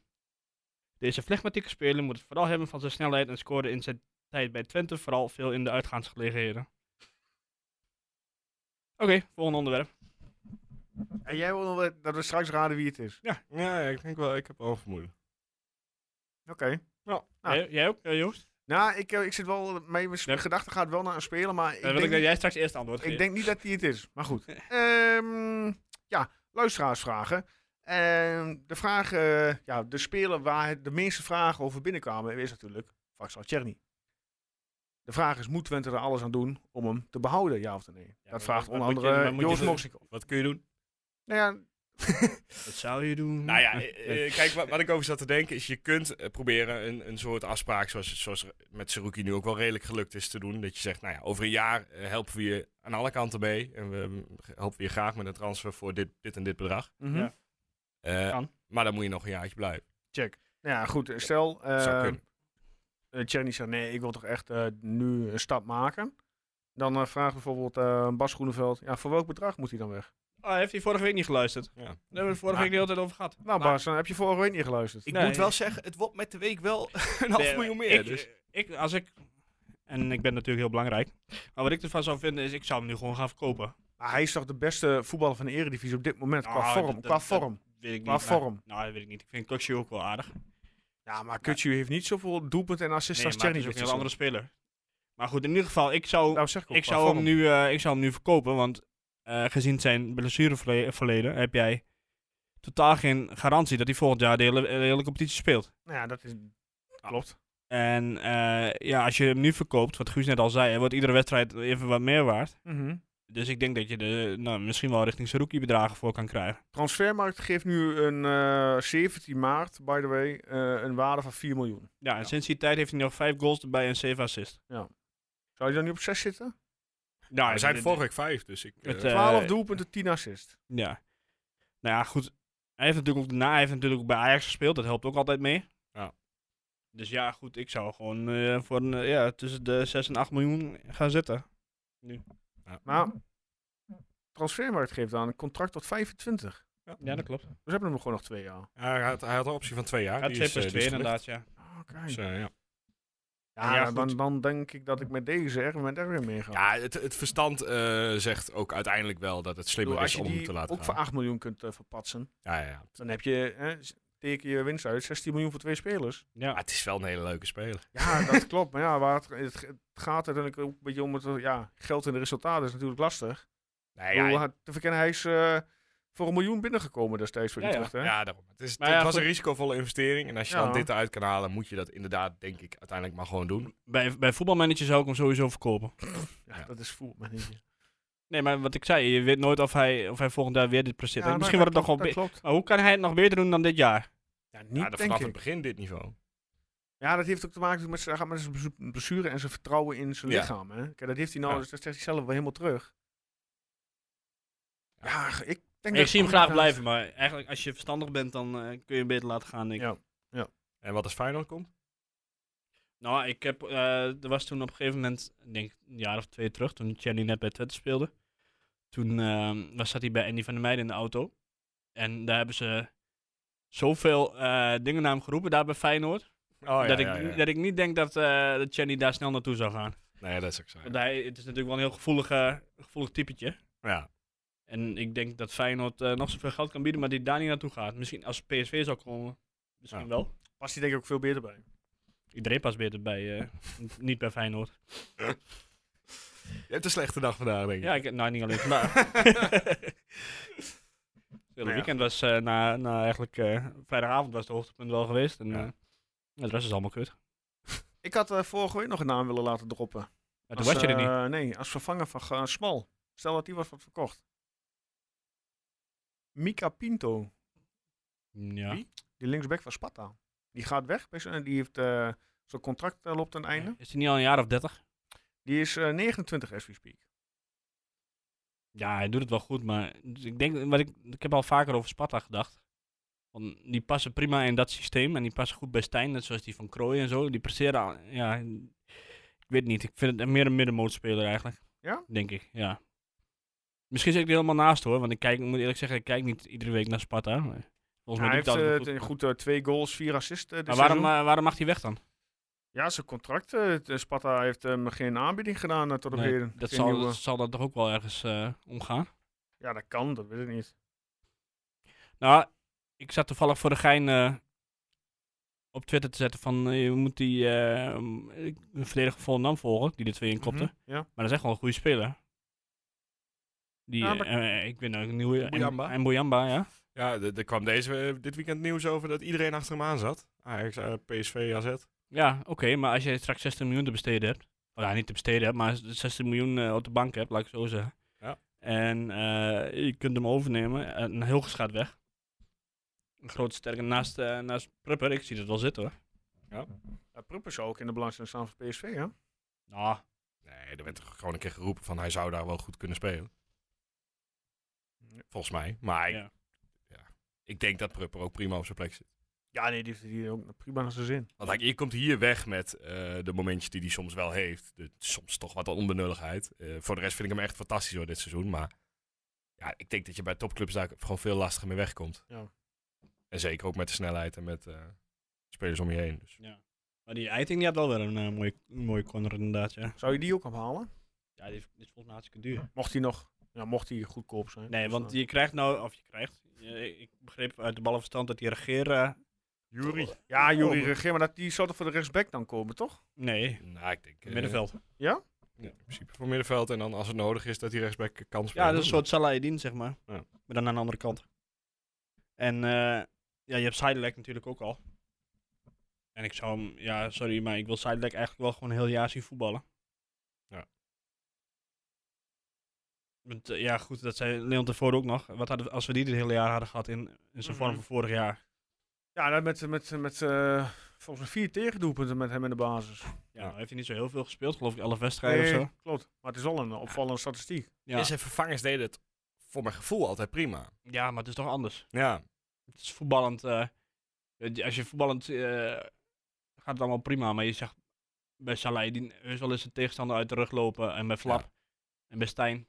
Deze flegmatieke speler moet het vooral hebben van zijn snelheid en scoorde in zijn tijd bij Twente vooral veel in de uitgaansgelegenheden. Oké, volgende onderwerp. En jij wil nog wel dat we straks raden wie het is. Ja, ja, ik denk wel, ik heb wel een vermoeden. Oké. Ah. Jij, jij ook, eh, Joost? Nou, ik, eh, ik zit wel. Mijn Ja. gedachte gaat wel naar een speler, maar ik, Dan Eh, wil denk, ik dat jij straks eerst antwoord niet, ik geeft. denk niet dat die het is. Maar goed. Ehm, ja, luisteraarsvragen. Ehm, de vraag, eh, ja, de speler waar het de meeste vragen over binnenkwamen is natuurlijk Vaxal Tjerni. De vraag is, moet Twente er alles aan doen om hem te behouden, ja of nee? maar dat vraagt wat- wat onder moet je- wat andere moet je Joost doen? Moksik. Wat kun je doen? Nou ja, Wat zou je doen? Nou ja, eh, eh, kijk, wat, wat ik over zat te denken is, je kunt eh, proberen een, een soort afspraak, zoals, zoals er met Saruki nu ook wel redelijk gelukt is te doen. Dat je zegt, nou ja, over een jaar eh, helpen we je aan alle kanten mee. En we mm, ge- helpen we je graag met een transfer voor dit, dit en dit bedrag. mhm. Ja. Eh, Kan. Maar dan moet je nog een jaartje blijven. check. Nou ja, goed. eh, Stel, eh, Zou kunnen. eh, Tjerni zegt nee, ik wil toch echt eh, nu een stap maken. Dan eh, vraagt bijvoorbeeld eh, Bas Groeneveld, ja, voor welk bedrag moet hij dan weg? Oh, heeft hij vorige week niet geluisterd? Ja. Daar hebben we het vorige Ah. week de hele tijd over gehad. Nou Maar- Bas, dan heb je vorige week niet geluisterd. Ik Nee. moet wel zeggen, het wordt met de week wel een half Nee, miljoen meer. Ik, dus. ik, als ik, en ik ben natuurlijk heel belangrijk, maar wat ik ervan zou vinden is, ik zou hem nu gewoon gaan verkopen. Maar hij is toch de beste voetballer van de eredivisie op dit moment, qua Nou, vorm, dat- qua dat- dat- vorm. Weet ik Qua niet. maar- vorm. nou, dat weet ik niet. Ik vind Kluxje ook wel aardig. Ja, maar Kutsu heeft niet zoveel doelpunten en assists Nee, als maar het Tjerni. is dit ook een heel seizoen. andere speler. Maar goed, in ieder geval, ik zou, Nou, zeg ik ook, ik qua zou, hem vorm. nu, eh, ik zou hem nu verkopen, want eh, gezien zijn blessureverleden heb jij totaal geen garantie dat hij volgend jaar de hele, de hele competitie speelt. Nou ja, dat is... Klopt. En eh, ja, als je hem nu verkoopt, wat Guus net al zei, hè, wordt iedere wedstrijd even wat meer waard. Mhm. Dus ik denk dat je er nou, misschien wel richting Saruki bedragen voor kan krijgen. Transfermarkt geeft nu een eh, 17 maart, by the way, eh, een waarde van 4 miljoen. Ja, en Ja. sinds die tijd heeft hij nog vijf goals erbij en zeven assists. Zou je dan nu op 6 zitten? Nou, we zijn vorige week vijf, dus ik... Het, eh, eh, 12 doelpunten, 10 assists. Ja. Nou ja, goed. Hij heeft natuurlijk ook daarna hij heeft natuurlijk ook bij Ajax gespeeld. Dat helpt ook altijd mee. Ja. Dus ja, goed. Ik zou gewoon eh, voor een, eh, ja, tussen de 6 en 8 miljoen gaan zitten. Maar transfermarkt geeft aan een contract tot 25. Ja, dat klopt. Dus we hebben hem gewoon nog twee jaar. hij, had, hij had een optie van twee jaar. Ja, Die 2 is, eh, plus die 2 is inderdaad, ja. Oké. gelukt. Dus, eh, ja. Ja, Ja, dan, goed. dan denk ik dat ik met deze er met er weer mee ga. Ja, het, het verstand eh, zegt ook uiteindelijk wel dat het Ik slimmer bedoel, als is je om hem die te ook laten voor gaan. 8 miljoen kunt eh, verpatsen, Ja, ja, ja. dan heb je, eh, s- teken je winst uit, 16 miljoen voor twee spelers. Ja, Maar het is wel een hele leuke speler. Ja, dat klopt. Maar ja, waar het, het, het gaat uiteindelijk ook een beetje om het eh, ja, geld en de resultaten is natuurlijk lastig. Nee, Ik bedoel, ja, hij- te verkennen, hij is eh, voor een miljoen binnengekomen destijds voor Ja, ja. Utrecht. Hè? ja, daarom. Het, is, Maar het ja, was goed. een risicovolle investering. En als je Ja. dan dit eruit kan halen, moet je dat inderdaad, denk ik, uiteindelijk maar gewoon doen. bij, bij voetbalmanager zou ik hem sowieso verkopen. Ja, dat is voel. Maar Nee, maar wat ik zei, je weet nooit of hij, of hij volgend jaar weer dit presteert. Ja, misschien maar wordt het nog wel dat beter. klopt. Maar hoe kan hij het nog beter doen dan dit jaar? Ja, niet Ja, dan denk vanaf ik. het begin dit niveau. Ja, dat heeft ook te maken met zijn, met zijn blessu- blessure en zijn vertrouwen in zijn Ja. lichaam. Hè? Kijk, dat heeft hij nou, Ja. dat zegt hij zelf wel helemaal terug. Ja, ik denk dat Ik zie Koeman hem graag daar- blijven, maar eigenlijk als je verstandig bent, dan eh, kun je hem beter laten gaan, denk ik. Ja. En wat als Feyenoord komt? Nou, ik heb, eh, er was toen op een gegeven moment, ik denk een jaar of twee terug, toen Charlie net bij Twente speelde. Toen ehm, was, zat hij bij Andy van der Meijden in de auto. En daar hebben ze zoveel eh, dingen naar hem geroepen, daar bij Feyenoord. Oh, ja, dat, ik, ja, ja. dat ik niet denk dat, eh dat Charlie daar snel naartoe zou gaan. Nee, dat is ook zo. ja. Want hij, het is natuurlijk wel een heel gevoelig, eh, gevoelig typetje. Ja. En ik denk dat Feyenoord eh, nog zoveel geld kan bieden, maar die daar niet naartoe gaat. Misschien als PSV zou komen, misschien Ja. wel. Past hij denk ik ook veel beter bij. Iedereen past beter bij, eh, niet bij Feyenoord. hebt een slechte dag vandaag, denk ik. Ja, ik, nou niet alleen vandaag. Het Nou ja. hele weekend was, eh, na, na eigenlijk, eh, vrijdagavond was het hoogtepunt wel geweest. En Ja. eh, de rest is allemaal kut. Ik had eh, vorige week nog een naam willen laten droppen. Maar toen Als, was je er niet. eh, Nee, als vervanger van eh, Smal. Stel dat die was wat verkocht. Mika Pinto, Mm, Ja. wie? die linksback van Sparta. Die gaat weg. bij zijn- Die heeft eh, zijn contract eh, loopt ten einde. Is hij niet al een jaar of 30? Die is eh, 29 as we speak. Ja, hij doet het wel goed, maar dus ik denk, wat ik, ik heb al vaker over Sparta gedacht. Want die passen prima in dat systeem en die passen goed bij Stijn, net zoals die van Krooi en zo. Die presteren, al- ja, ik weet niet. Ik vind het meer een middenmootspeler eigenlijk. Ja? Denk ik, ja. Misschien zit ik er helemaal naast hoor, want ik, kijk, ik moet eerlijk zeggen, ik kijk niet iedere week naar Sparta. Maar volgens hij mij doet hij heeft het altijd eh, wel goed, eh, twee goals, vier assists. eh, dit Maar waarom, seizoen. eh, waarom mag hij weg dan? Ja, zijn contract. eh, het- eh, Sparta heeft hem geen aanbieding gedaan eh, tot op Nee, heden. dat Geen zal, dus- nieuwe- dat zal dan toch ook wel ergens eh, omgaan? Ja, dat kan, dat weet ik niet. Nou, ik zat toevallig voor de gein eh, op Twitter te zetten van eh, je moet die eh, m- ik- een verdediger van Volendam volgen, die de twee inkopte. Mhm, Ja. Maar dat is echt wel een goede speler. Die, Ja, eh, maar- eh, ik weet nou, een nieuwe... Mbuyamba. En Boyamba, ja. Ja, er er kwam deze, eh, dit weekend nieuws over dat iedereen achter hem aan zat. Ajax, eh, PSV, AZ. Ja, oké, maar als je straks 16 miljoen te besteden hebt, of ja, niet te besteden hebt, maar 16 miljoen eh, op de bank hebt, laat ik het zo zeggen. Ja. En eh, je kunt hem overnemen en heel gaat weg. Een grote sterke naast, eh, naast Prupper, ik zie dat wel zitten hoor. Uh, Prupper zou ook in de belangstelling staan van PSV, ja. Nou, Nee, er werd toch gewoon een keer geroepen van hij zou daar wel goed kunnen spelen. Volgens mij. Maar ik, Ja. ja, ik denk dat Prupper ook prima op zijn plek zit. Ja, nee, die heeft hier ook prima naar zijn zin. Want hij, je komt hier weg met eh, de momentjes die hij soms wel heeft. De, soms toch wat onbenulligheid. Eh, voor de rest vind ik hem echt fantastisch hoor dit seizoen. Maar ja, ik denk dat je bij topclubs daar gewoon veel lastiger mee wegkomt. Ja. En zeker ook met de snelheid en met eh, spelers om je heen. Dus. Ja. Maar die Eiting die had wel weer een eh, mooie, een mooie corner inderdaad, ja. Zou je die ook ophalen? Ja, die is, die is volgens mij hartstikke duur. Mocht hij nog, ja, mocht hij goedkoop zijn. Nee, Dus, want eh, je krijgt nou, of je krijgt, je- ik begreep uit de ballenverstand dat die regeren... Jury. Ja, Jurie Oh. Regeer, maar dat, die zou toch voor de rechtsback dan komen, toch? Nee, Nou, ik denk... eh, middenveld. ja, in principe voor middenveld. En dan als het nodig is dat hij rechtsback eh, kan spelen. Ja, dat is een soort Salah Eddin, zeg maar. Ja. Maar dan aan de andere kant. En eh, ja, je hebt Sidelec natuurlijk ook al. En ik zou hem, ja, sorry, maar ik wil Sidelec eigenlijk wel gewoon een heel jaar zien voetballen. Ja. Want, eh, ja, goed, dat zei Leon tevoren ook nog. Wat hadden, we- als we die dit hele jaar hadden gehad in, in zijn vorm Mhm. van vorig jaar. Ja, dat met, met, met eh, volgens mij vier tegendoelpunten met hem in de basis. Ja, Ja. nou heeft hij niet zo heel veel gespeeld, geloof ik, 11 wedstrijden of zo. klopt. Maar het is al een opvallende statistiek. Ja. En zijn vervangers deden het voor mijn gevoel altijd prima. ja, maar het is toch anders. Ja, Het is voetballend. eh, eh, als je voetballend. eh, gaat het allemaal prima. Maar je zegt. Bij Salai. Die heus wel eens een tegenstander uit de rug lopen. En bij Flap. Ja. En bij Stijn.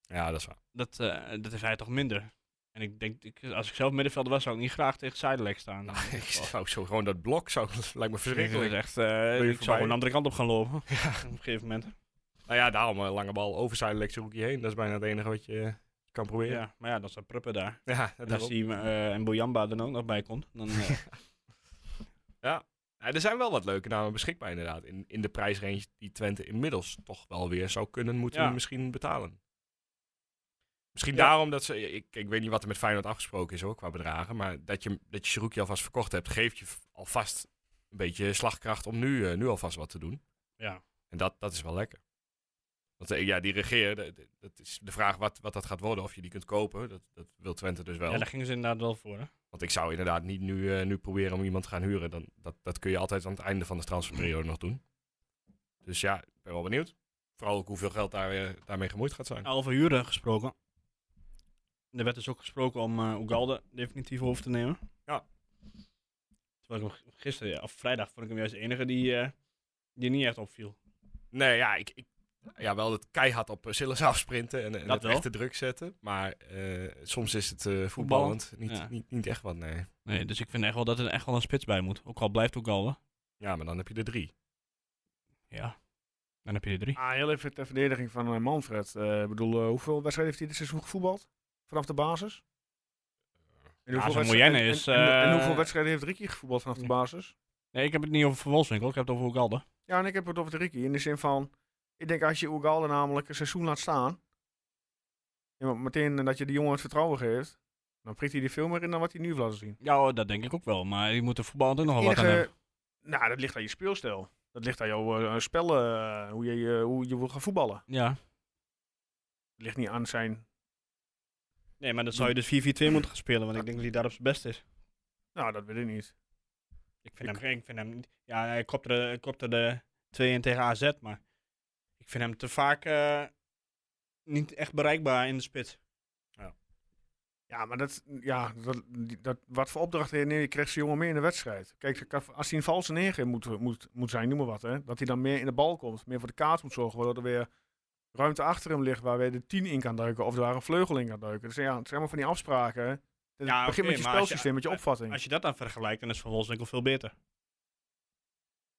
ja dat is waar. Dat, eh, dat heeft hij toch minder. En ik denk. Ik, als ik zelf middenvelder was. zou ik niet graag tegen Sidelec staan. Nou, ik zou zo gewoon dat blok, zou, lijkt me verschrikkelijk. Dat is echt, eh, ik zou voorbij? gewoon de andere kant op gaan lopen. Op een gegeven moment. Nou ja, daarom een lange bal over zijn hoekje heen. Dat is bijna het enige wat je eh, kan Ja. proberen. maar ja, dan staat Pruppen daar. Ja, En daarom. als die eh, en Boyamba er ook nog bij komt. Dan, eh, Ja, er zijn wel wat leuke namen beschikbaar inderdaad. In, in de prijsrange die Twente inmiddels toch wel weer zou kunnen moeten Ja. misschien betalen. Misschien Ja. daarom dat ze... Ik, ik weet niet wat er met Feyenoord afgesproken is hoor, qua bedragen. Maar dat je, dat je Cherokee alvast verkocht hebt, geeft je v- alvast een beetje slagkracht om nu, eh, nu alvast wat te doen. ja. En dat, dat is wel lekker. Want eh, ja, die regeer, de- de- dat is de vraag wat, wat dat gaat worden. Of je die kunt kopen, dat, dat wil Twente dus wel. ja, daar gingen ze inderdaad wel voor. Hè? Want ik zou inderdaad niet nu, eh, nu proberen om iemand te gaan huren. Dan, dat, dat kun je altijd aan het einde van de transferperiode nog doen. Dus ja, ik ben wel benieuwd. Vooral ook hoeveel geld daar, eh, daarmee gemoeid gaat zijn. Over huren gesproken. Er werd dus ook gesproken om eh Ugalde definitief over te nemen. Ja. Terwijl ik hem g- gisteren, ja, of vrijdag, vond ik hem juist de enige die, eh, die niet echt opviel. Nee, ja, ik, ik, ja wel dat keihard op Sillis afsprinten en, en Dat het wel. echt de druk zetten. Maar eh, soms is het eh, voetballend niet, Ja. niet, niet echt wat, nee. Nee, dus ik vind echt wel dat er echt wel een spits bij moet. Ook al blijft Ugalde. Ja, maar dan heb je er drie. Ja. Dan heb je er drie. Ah, heel even ter verdediging van eh, Manfred. Eh, ik bedoel, eh, hoeveel wedstrijden heeft hij dit seizoen gevoetbald? Vanaf de basis? En hoeveel Ja, zo'n wedstrijden- Moyenne en- is, en, en eh, hoeveel wedstrijden heeft Ricky gevoetbald vanaf de Ja. basis? Nee, ik heb het niet over Van Wolfswinkel, ik heb het over Ugalde. Ja, en ik heb het over de Ricky. In de zin van, Ik denk als je Oegalde namelijk een seizoen laat staan. Ja, maar meteen dat je die jongen het vertrouwen geeft. Dan prikt hij die veel meer in dan wat hij nu heeft laten zien. Ja, hoor, dat denk ik ook wel. Maar je moet de voetbal ook nog wel Oh, wat eh. aan Enige, hebben. nou, dat ligt aan je speelstijl. Dat ligt aan jouw eh, spel, eh, hoe, je, je- hoe je wil gaan voetballen. Ja. Het ligt niet aan zijn... Nee, maar dan zou je dus 4-4-2 moeten gaan spelen. Want ik denk dat hij daar op zijn best is. Nou, dat weet ik niet. Ik vind hem, ik vind hem niet- Ja, hij kopte, de- hij kopte de 2 in tegen AZ, maar ik vind hem te vaak eh, niet echt bereikbaar in de spits. Ja, maar dat, ja, dat, die- dat, wat voor opdrachten nee, je kreeg ze jongen meer in de wedstrijd. Kijk, als hij een valse negen moet, moet, moet zijn, noem maar wat. Hè, dat hij dan meer in de bal komt, meer voor de kaart moet zorgen. Waardoor er weer ruimte achter hem ligt waar weer de 10 in kan duiken. Of waar een vleugel in kan duiken. Dus ja, het zijn allemaal van die afspraken. Hè. Het Ja, begint oké, met je maar als je- spelsysteem, met je opvatting. Als je dat dan vergelijkt, dan is Van Wolfswinkel veel beter.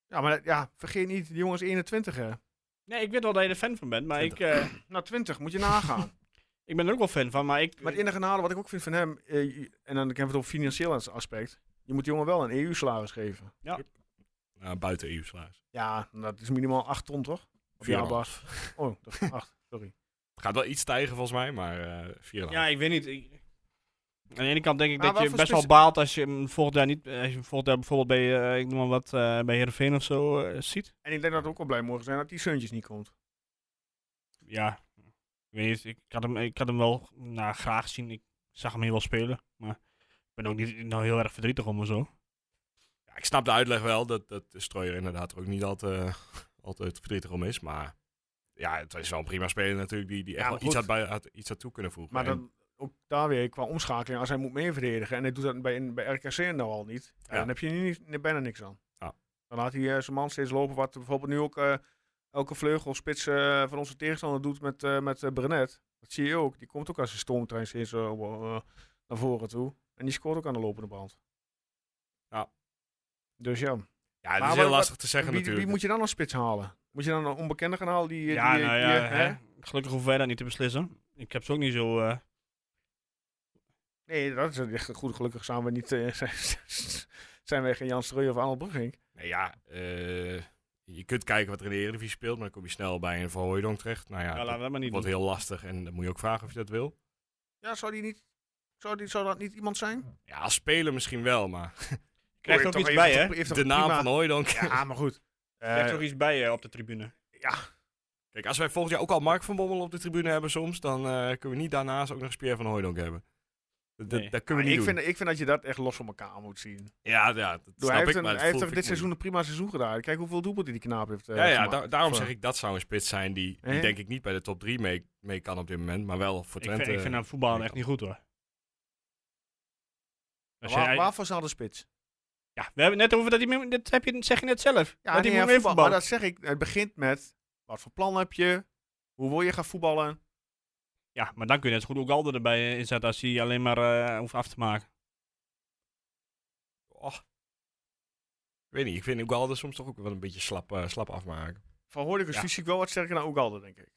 Ja, maar ja, vergeet niet, die jongens 21 hè. Nee, ik weet wel dat je er fan van bent, maar ik, eh, Nou, 20 moet je nagaan. ik ben er ook wel fan van. Maar ik, eh, Maar het enige nadeel wat ik ook vind van hem, eh, je- en dan hebben we het over financieel as- aspect, je moet die jongen wel een EU-salaris geven. Nou, buiten EU-salaris. Ja, dat is minimaal 8 ton toch? Op Vier en jaarbasis. Oh, dat is 8, sorry. Gaat wel iets stijgen volgens mij, maar eh, vier ja, ik weet niet. ik- aan de ene kant denk ik Maar dat je wat voor best wel spits- baalt als je hem volgend jaar niet, eh, als je hem volgend jaar bijvoorbeeld bij, eh, ik noem maar wat, eh, bij Heerenveen of zo eh, ziet. En ik denk dat we ook wel blij mogen zijn dat die Suntjes niet komt. ja, ik weet niet, ik had hem, ik had hem wel nou, graag zien. Ik zag hem hier wel spelen, maar ik ben ook niet nou, heel erg verdrietig om of zo. Ja, ik snap de uitleg wel dat, dat de Strooier inderdaad er ook niet altijd, eh, altijd verdrietig om is. Maar ja, het is wel een prima speler natuurlijk die, die echt Ja, wel maar iets goed. had, bij, had, iets had toe kunnen voegen. Maar En dan, ook daar weer qua omschakeling, als hij moet meer verdedigen en hij doet dat bij, bij RKC nou al niet, ja, Ja. dan heb je hier niet, ni- bijna niks aan. Ja. Dan laat hij eh, zijn man steeds lopen, wat bijvoorbeeld nu ook eh, elke vleugelspits eh, van onze tegenstander doet met, eh met eh, Brenet. Dat zie je ook, die komt ook als een stoomtrein steeds eh, eh, naar voren toe. En die scoort ook aan de lopende band. Ja. Dus ja, ja, het maar is heel wat- lastig te zeggen wie, wie natuurlijk. moet je dan als spits halen? Moet je dan een onbekende gaan halen? Die, eh, ja, die, eh, nou ja, die, eh, hè? hè? gelukkig hoeven wij dat niet te beslissen. Ik heb ze ook niet zo... eh, Nee, dat is echt goed. Gelukkig zijn we niet. eh, zijn, zijn wij geen Jan Strooij of Arnold Brugink. Nou ja, eh, je kunt kijken wat er in de Eredivisie speelt, maar dan kom je snel bij een Verhooydonk terecht. Nou ja, nou, laten we dat dat maar niet wordt doen. heel lastig en dan moet je ook vragen of je dat wil. Ja, zou die niet. Zou, die, zou dat niet iemand zijn? Ja, als speler misschien wel, maar Krijgt Hoor ook je toch iets even bij, toch- hè? heeft toch de naam prima- van Hooydonk. Ja, maar goed. Eh, Krijgt ook iets bij eh, op de tribune. Kijk, als wij volgend jaar ook al Mark van Bommel op de tribune hebben soms, dan eh, kunnen we niet daarnaast ook nog eens Pierre van Hooydonk hebben. Dat, dat- Nee. dat kunnen we niet ik, doen. vind, ik vind dat je dat echt los van elkaar moet zien. Ja, ja, dat Doe, snap hij heeft, ik, een- maar dat hij heeft voel toch ik dit niet. seizoen een prima seizoen gedaan. Kijk hoeveel doelpunten die knaap heeft. eh, Ja, ja gemaakt. da- daarom Voor- zeg ik, dat zou een spits zijn die, die Hè? denk ik niet bij de top 3 mee, mee kan op dit moment, maar wel voor Ik vind, Twente. eh, ik vind hem voetballen echt niet goed, hoor. Als Waar- jij- waarvoor zal de spits? ja, we hebben het net over dat hij... meer- Dit heb je, zeg je net zelf. Ja, dat nee, hij ja, moet voetbal, maar meer voetballen. dat zeg ik. Het begint met. Wat voor plan heb je? Hoe wil je gaan voetballen? Ja, maar dan kun je net zo goed ook Alder erbij eh, inzetten als hij alleen maar eh, hoeft af te maken. Och. Ik weet niet, ik vind Ugalde soms toch ook wel een beetje slap, eh, slap afmaken. Van Hoornik is Ja. fysiek wel wat sterker dan Oegalde, denk ik.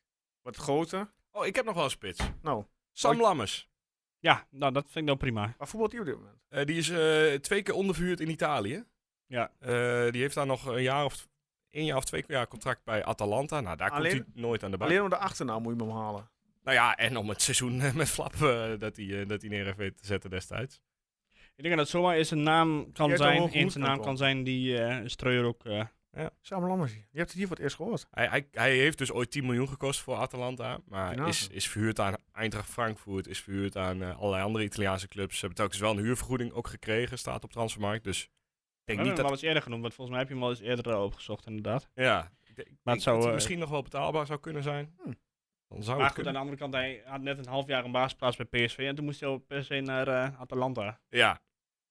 Wat groter. Oh, ik heb nog wel een spits. Nou, Sam Oh, Lammers. Ja, nou dat vind ik wel prima. Maar voetbalt hij op dit moment? Eh, die is eh, twee keer onderverhuurd in Italië. Ja. Eh, die heeft daar nog een jaar of één jaar of twee jaar contract bij Atalanta. Nou, daar Alleen- komt hij nooit aan de bak. Alleen om de achternaam moet je hem halen. Nou ja, en om het seizoen eh, met Flap eh, dat hij eh, dat hij neer heeft weten te zetten destijds. Ik denk dat het zomaar eens een naam kan Je hebt er zijn, hoog eens goed een aan naam komen. kan zijn die eh Streuer ook... eh, Sam Lammers. Je hebt het hier voor het eerst gehoord. Hij, hij, hij heeft dus ooit 10 miljoen gekost voor Atalanta. Maar Genade. is, is verhuurd aan Eintracht Frankfurt. Is verhuurd aan eh, allerlei andere Italiaanse clubs. Ze hebben telkens wel een huurvergoeding ook gekregen. Staat op transfermarkt. Dus ik we denk hebben hem niet dat... al eens eerder genoemd, want volgens mij heb je hem al eens eerder eh, opgezocht inderdaad. Ja, ik denk Maar dat het zou... hij eh, misschien nog wel betaalbaar zou kunnen zijn. Hmm. Dan zou maar het goed, aan kunnen. de andere kant, hij had net een half jaar een baasplaats bij PSV en toen moest hij al per se naar eh, Atalanta. Ja.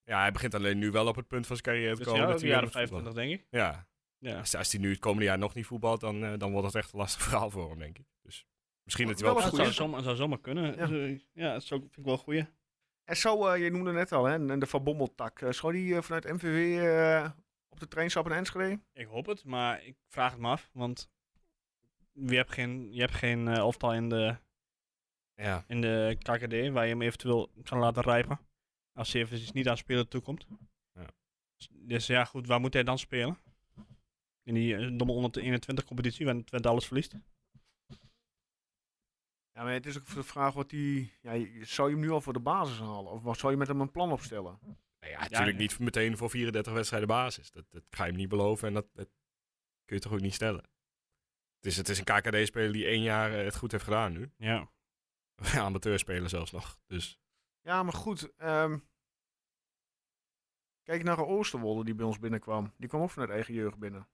ja, hij begint alleen nu wel op het punt van zijn carrière te Dus komen. ja, dat ook de hij weer jaren moet voetballen. 25 denk ik. Ja, Ja. Als, als hij nu het komende jaar nog niet voetbalt, dan, eh, dan wordt dat echt een lastig verhaal voor hem, denk ik. Dus misschien dat hij wel Wel op een het Dat goede goeie. zou zomaar, zou zomaar kunnen. Ja. Dus, eh, Ja, dat zou, vind ik wel een goeie. En zo, eh, je noemde net al, hè, en de Van Bommel-tak. Eh, Zou die eh, vanuit MVV eh, op de trainingstap in Enschede? Ik hoop het, maar ik vraag het me af, want je hebt geen, je hebt geen eh, elftal in de Ja, in de KKD, waar je hem eventueel kan laten rijpen. Als hij eventjes niet aan spelen toekomt. Ja. Dus ja, goed, waar moet hij dan spelen? In die eh, domme onder 21 competitie, waarin Twente alles verliest. Ja, maar het is ook de vraag wat die. Ja, je- zou je hem nu al voor de basis halen? Of wat zou je met hem een plan opstellen? Nou ja, natuurlijk ja. niet meteen voor 34 wedstrijden basis. Dat, dat ga je hem niet beloven en dat, dat kun je toch ook niet stellen. Het is, het is een KKD-speler die één jaar eh, het goed heeft gedaan nu. Ja. Amateurspeler zelfs nog. Dus Ja, maar goed. ehm, kijk naar Oosterwolde die bij ons binnenkwam. Die kwam ook vanuit eigen jeugd binnen.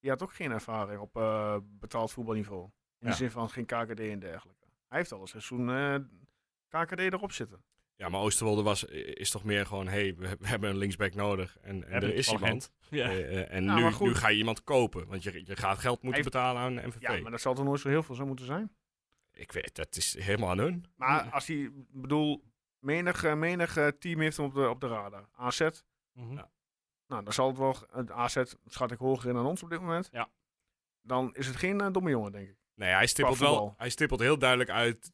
Die had ook geen ervaring op eh, betaald voetbalniveau. In Ja. de zin van geen KKD en dergelijke. Hij heeft al een seizoen eh, KKD erop zitten. ja, maar Oosterwolde was, is toch meer gewoon... hé, hey, we, we hebben een linksback nodig en, en Hebben er is toevallig iemand. Ja. Eh, eh, en Ja, nu, maar goed. nu ga je iemand kopen, want je, je gaat geld moeten Hij- betalen aan MVV. Ja, maar dat zal toch nooit zo heel veel zo moeten zijn. Ik weet, dat is helemaal aan hun. Maar Ja. als hij, bedoel, menig, eh, menig eh, team heeft hem op de, op de radar. AZ, Mhm. nou, dan zal het wel, het AZ schat ik hoger in dan ons op dit moment. Ja. Dan is het geen eh, domme jongen, denk ik. Nee, hij stippelt, wel, voetbal. hij stippelt heel duidelijk uit,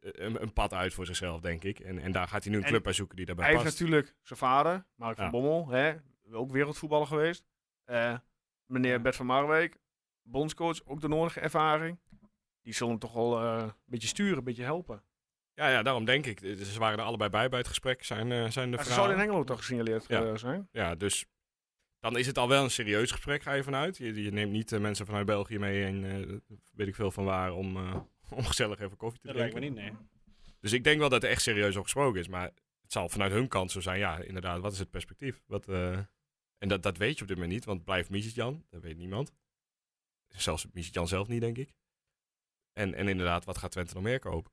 eh, een, een pad uit voor zichzelf, denk ik. En, en daar gaat hij nu een En club bij zoeken die daarbij Hij heeft past. natuurlijk zijn vader, Mark Ja. van Bommel, hè, ook wereldvoetballer geweest. Eh, meneer Bert van Marwijk, bondscoach, ook de nodige ervaring. Die zullen hem toch wel eh, een beetje sturen, een beetje helpen. Ja, ja, daarom denk ik. Eh, Ze waren er allebei bij bij het gesprek, zijn, eh, zijn de Ja, Ze verhalen. zouden in Engeland toch gesignaleerd Ja. eh, zijn? Ja, dus dan is het al wel een serieus gesprek, ga je vanuit. Je, je neemt niet eh, mensen vanuit België mee en eh, weet ik veel van waar om, eh, om gezellig even koffie te Dat lijkt drinken. me niet, nee. Dus ik denk wel dat er echt serieus op gesproken is. Maar het zal vanuit hun kant zo zijn. Ja, inderdaad, wat is het perspectief? Wat, eh, en dat, dat weet je op dit moment niet, want blijft Jan, dat weet niemand. Zelfs Jan zelf niet, denk ik. En, en inderdaad, wat gaat Twente nog meer kopen?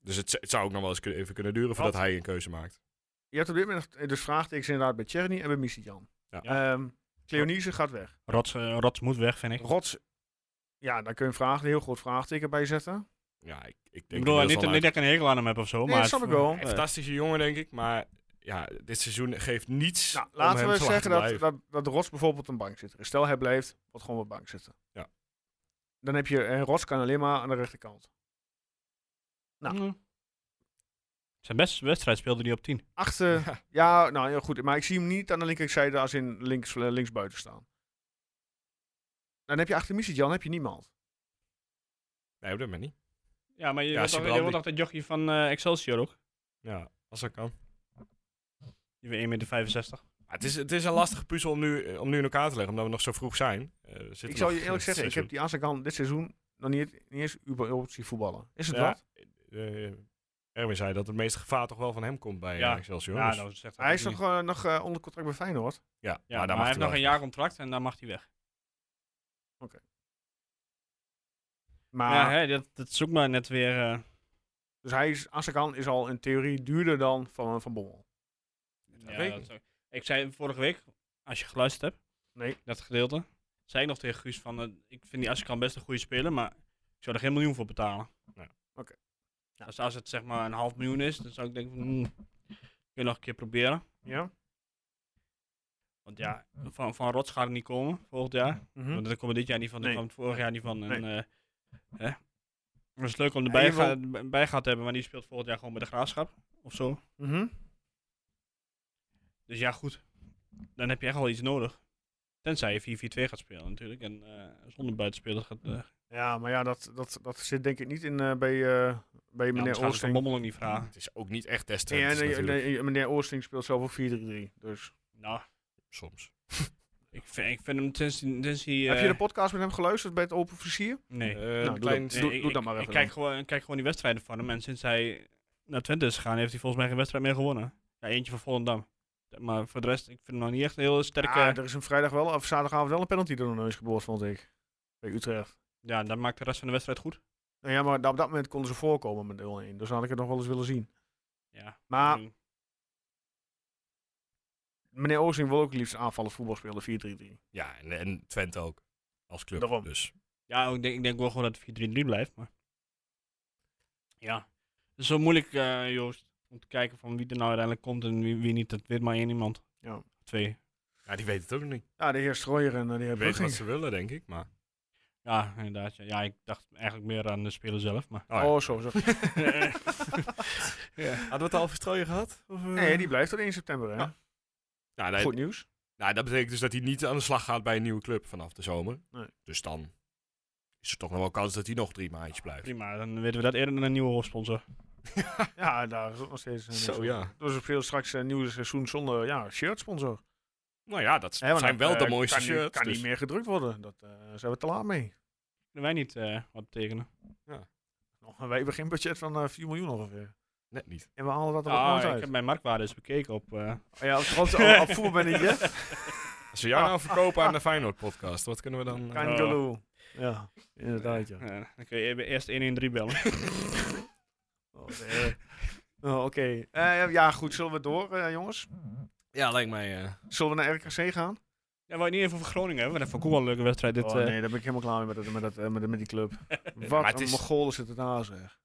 Dus het, z- het zou ook nog wel eens kun- even kunnen duren voordat hij een keuze maakt. Je hebt op dit moment eh, dus vraagtekens inderdaad bij Tjerni en bij Missy-Jan. Ja. Cleonise gaat weg. Rots, eh, Rots moet weg, vind ik. Rots, ja, daar kun je een, vraag, een heel groot vraagteken bij zetten. Ja, ik, ik denk Ik bedoel, inmiddels niet, al niet dat ik een hekel aan hem heb of zo, Nee, maar... dat snap ik wel. Een fantastische jongen, denk ik. Maar ja, dit seizoen geeft niets. Nou, om laten hem we te laten zeggen dat, blijven. dat, dat Rots bijvoorbeeld op een bank zit. Stel hij blijft, wat gewoon op de bank zitten. Ja. Dan heb je, en Rots kan alleen maar aan de rechterkant. Nou. Mm. Zijn beste wedstrijd speelde hij op 10. Achter, Ja. ja, nou heel goed. Maar ik zie hem niet aan de linkerzijde als in links, eh, linksbuiten staan. Dan heb je achter Misitjan heb je niemand. Nee, op dit moment niet. Ja, maar je Ja, wordt toch- je Sibrandi. wordt toch dat jochie van eh, Excelsior ook? Ja, als dat kan. Die weer 1,65 meter. 65. Maar het, is, het is een lastige puzzel om nu, eh, om nu in elkaar te leggen, omdat we nog zo vroeg zijn. Eh, we zitten Ik zal je nog- eerlijk zeggen, ik heb seizoen. die Azarkan dit seizoen nog niet, niet eens überhaupt zien voetballen. Is het Ja, wat? eh, Erwin zei dat het meeste gevaar toch wel van hem komt bij Ja. ja. Excelsior. Ja, dus- nou, zegt dat Hij ook is niet. nog, eh, nog eh, onder contract bij Feyenoord. ja, maar Ja, maar daar mag Nou, hij heeft wel nog een even. jaar contract en dan mag hij weg. Maar, Ja, hè, dat, dat zoekt maar net weer... eh, dus hij is, Asakan is al in theorie duurder dan van, van Bommel. ja, weet ik dat is- ik zei vorige week, als je geluisterd hebt, Nee. dat gedeelte, zei ik nog tegen Guus van, eh, ik vind die Askan best een goede speler, maar ik zou er geen miljoen voor betalen. Dus Ja. Oké. Als, als het zeg maar een half miljoen is, dan zou ik denken van, hmm, kun je nog een keer proberen. Ja? Want ja, van, van Rots gaat het niet komen volgend jaar. Mhm. Want daar komen we dit jaar niet van, daar Mhm. Nee. kwam het vorig jaar niet van. En, Nee. eh, hè? Maar het is leuk om Ja, erbij je wil- ga, bij gehad te hebben, maar die speelt volgend jaar gewoon bij de Graafschap of zo. Mhm. Dus ja, goed. Dan heb je echt wel iets nodig. Tenzij je 4-4-2 gaat spelen natuurlijk. En eh, zonder buitenspelers gaat... eh Ja, maar ja, dat, dat, dat zit denk ik niet in, eh, bij, eh, bij ja, meneer anders gaan ze van Oosting. Bommel ook niet vragen. Het is ook niet echt des En, Twentes eh, natuurlijk, nee, meneer Oosting speelt zelf ook 4-3-3. Dus. Nou, soms. ik vind, ik vind hem sinds, sinds hij... Heb je eh, de podcast met hem geluisterd bij het Open Versier? Nee. Eh, doe een klein, Nou, dat. Nee, doe- ik- doe dat ik- maar even Ik kijk gewoon, ik kijk gewoon die wedstrijden van hem. En sinds hij naar Twente is gegaan, heeft hij volgens mij geen wedstrijd meer gewonnen. Ja, eentje van Volendam. Maar voor de rest, ik vind hem nog niet echt een heel sterke... eh. Ah, er is een vrijdag wel, of zaterdagavond wel een penalty door de neus geboord, vond ik. Bij Utrecht. Ja, dat maakt de rest van de wedstrijd goed. Nou ja, maar op dat moment konden ze voorkomen met 0-1. Dus had ik het nog wel eens willen zien. Ja. Maar Mm. meneer Oosting wil ook liefst aanvallen voetbal spelen 4-3-3. Ja, en, en Twente ook. Als club. Daarom. Dus Ja, ik denk, ik denk wel gewoon dat het 4-3-3 blijft. Maar... Ja, het is zo moeilijk, eh, Joost, om te kijken van wie er nou uiteindelijk komt en wie, wie niet. Dat weet maar één iemand. Ja. Twee. ja, die weten het ook nog niet. Ja, de heer Strooier en eh, de heer Die weten Brugging. wat ze willen, denk ik. Maar Ja, inderdaad. Ja. ja, ik dacht eigenlijk meer aan de speler zelf, maar... Oh ja. Oh, zo, zo. ja. hadden we het al verstrooien gehad? Nee, die blijft tot 1 september, hè? Ja, nee, Goed nieuws. Nou, dat betekent dus dat hij niet aan de slag gaat bij een nieuwe club vanaf de zomer. Nee. Dus dan is er toch nog wel kans dat hij nog drie maandjes blijft. Prima, dan weten we dat eerder dan een nieuwe hoofdsponsor. Ja, daar is ook nog steeds. eh, niks Zo van. ja. Dus er veel straks een nieuw seizoen zonder ja, shirtsponsor. Nou ja, dat s- Hè, want zijn dat, wel de eh, mooiste kan niet- shirts. kan dus- niet meer gedrukt worden. Dat eh, zijn we te laat mee. Kunnen wij niet eh, wat tekenen? Nog een beginbudget van eh 4 miljoen ongeveer. Net niet. En we halen dat er ook nog Ah, eens ik uit. heb mijn marktwaarde eens bekeken op... eh, Oh Ja, trouwens, al, al voer ben ik, hè? Als we jou nou verkopen aan de Feyenoord podcast, wat kunnen we dan... eh, Kangaloo. Ja, inderdaad, ja. eh, dan kun je e- eerst 113 bellen. Oh, nee. Oh, Oké. Eh, ja, goed. Zullen we door, eh, jongens? ja, lijkt mij... eh, Zullen we naar RKC gaan? Ja, wou je niet even over Groningen hebben? Dat vond ik ook wel een leuke wedstrijd. Dit, oh, eh, nee, daar ben ik helemaal klaar mee met, dat, met, dat, eh, met, met die club. maar Wat het een is- Mongool is het daar, zeg.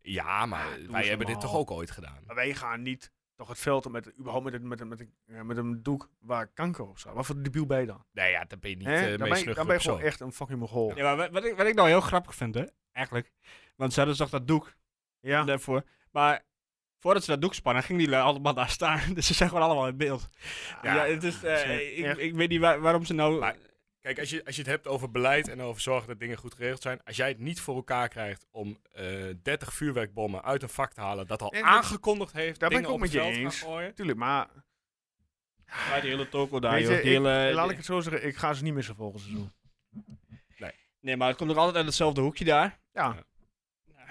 ja, maar doe wij eens hebben dit normaal. toch ook ooit gedaan. Maar wij gaan niet toch het veld op met, überhaupt met, een- met, een- met, een- eh, met een doek waar kanker op staat. Wat voor debiel ben je dan? Nee, ja, dan ben je niet Hè? eh dan, meest ben je, snuggere dan ben je gewoon persoon. echt een fucking Mongool. Ja, maar wat- wat ik, wat ik nou heel grappig vind, hè, eigenlijk. Want ze hadden toch dat doek Ja. daarvoor. Maar voordat ze dat doek spannen, ging die lui allemaal daar staan. Dus ze zijn gewoon allemaal in beeld. Ja, het is, eh, ze- ik, echt. ik weet niet waar- waarom ze nou... Maar- Kijk, als je, als je het hebt over beleid en over zorgen dat dingen goed geregeld zijn. Als jij het niet voor elkaar krijgt om eh 30 vuurwerkbommen uit een vak te halen. dat al En dat- aangekondigd heeft. daar ben dingen ik ook op met het je veld eens. gaan gooien. Tuurlijk, maar Ja, die hele toko daar, Weet Nou, joh. je, Die ik- hele, laat ik het zo zeggen, ik ga ze niet missen volgend seizoen. Nee, maar het komt ook altijd uit hetzelfde hoekje daar. Ja, Nou,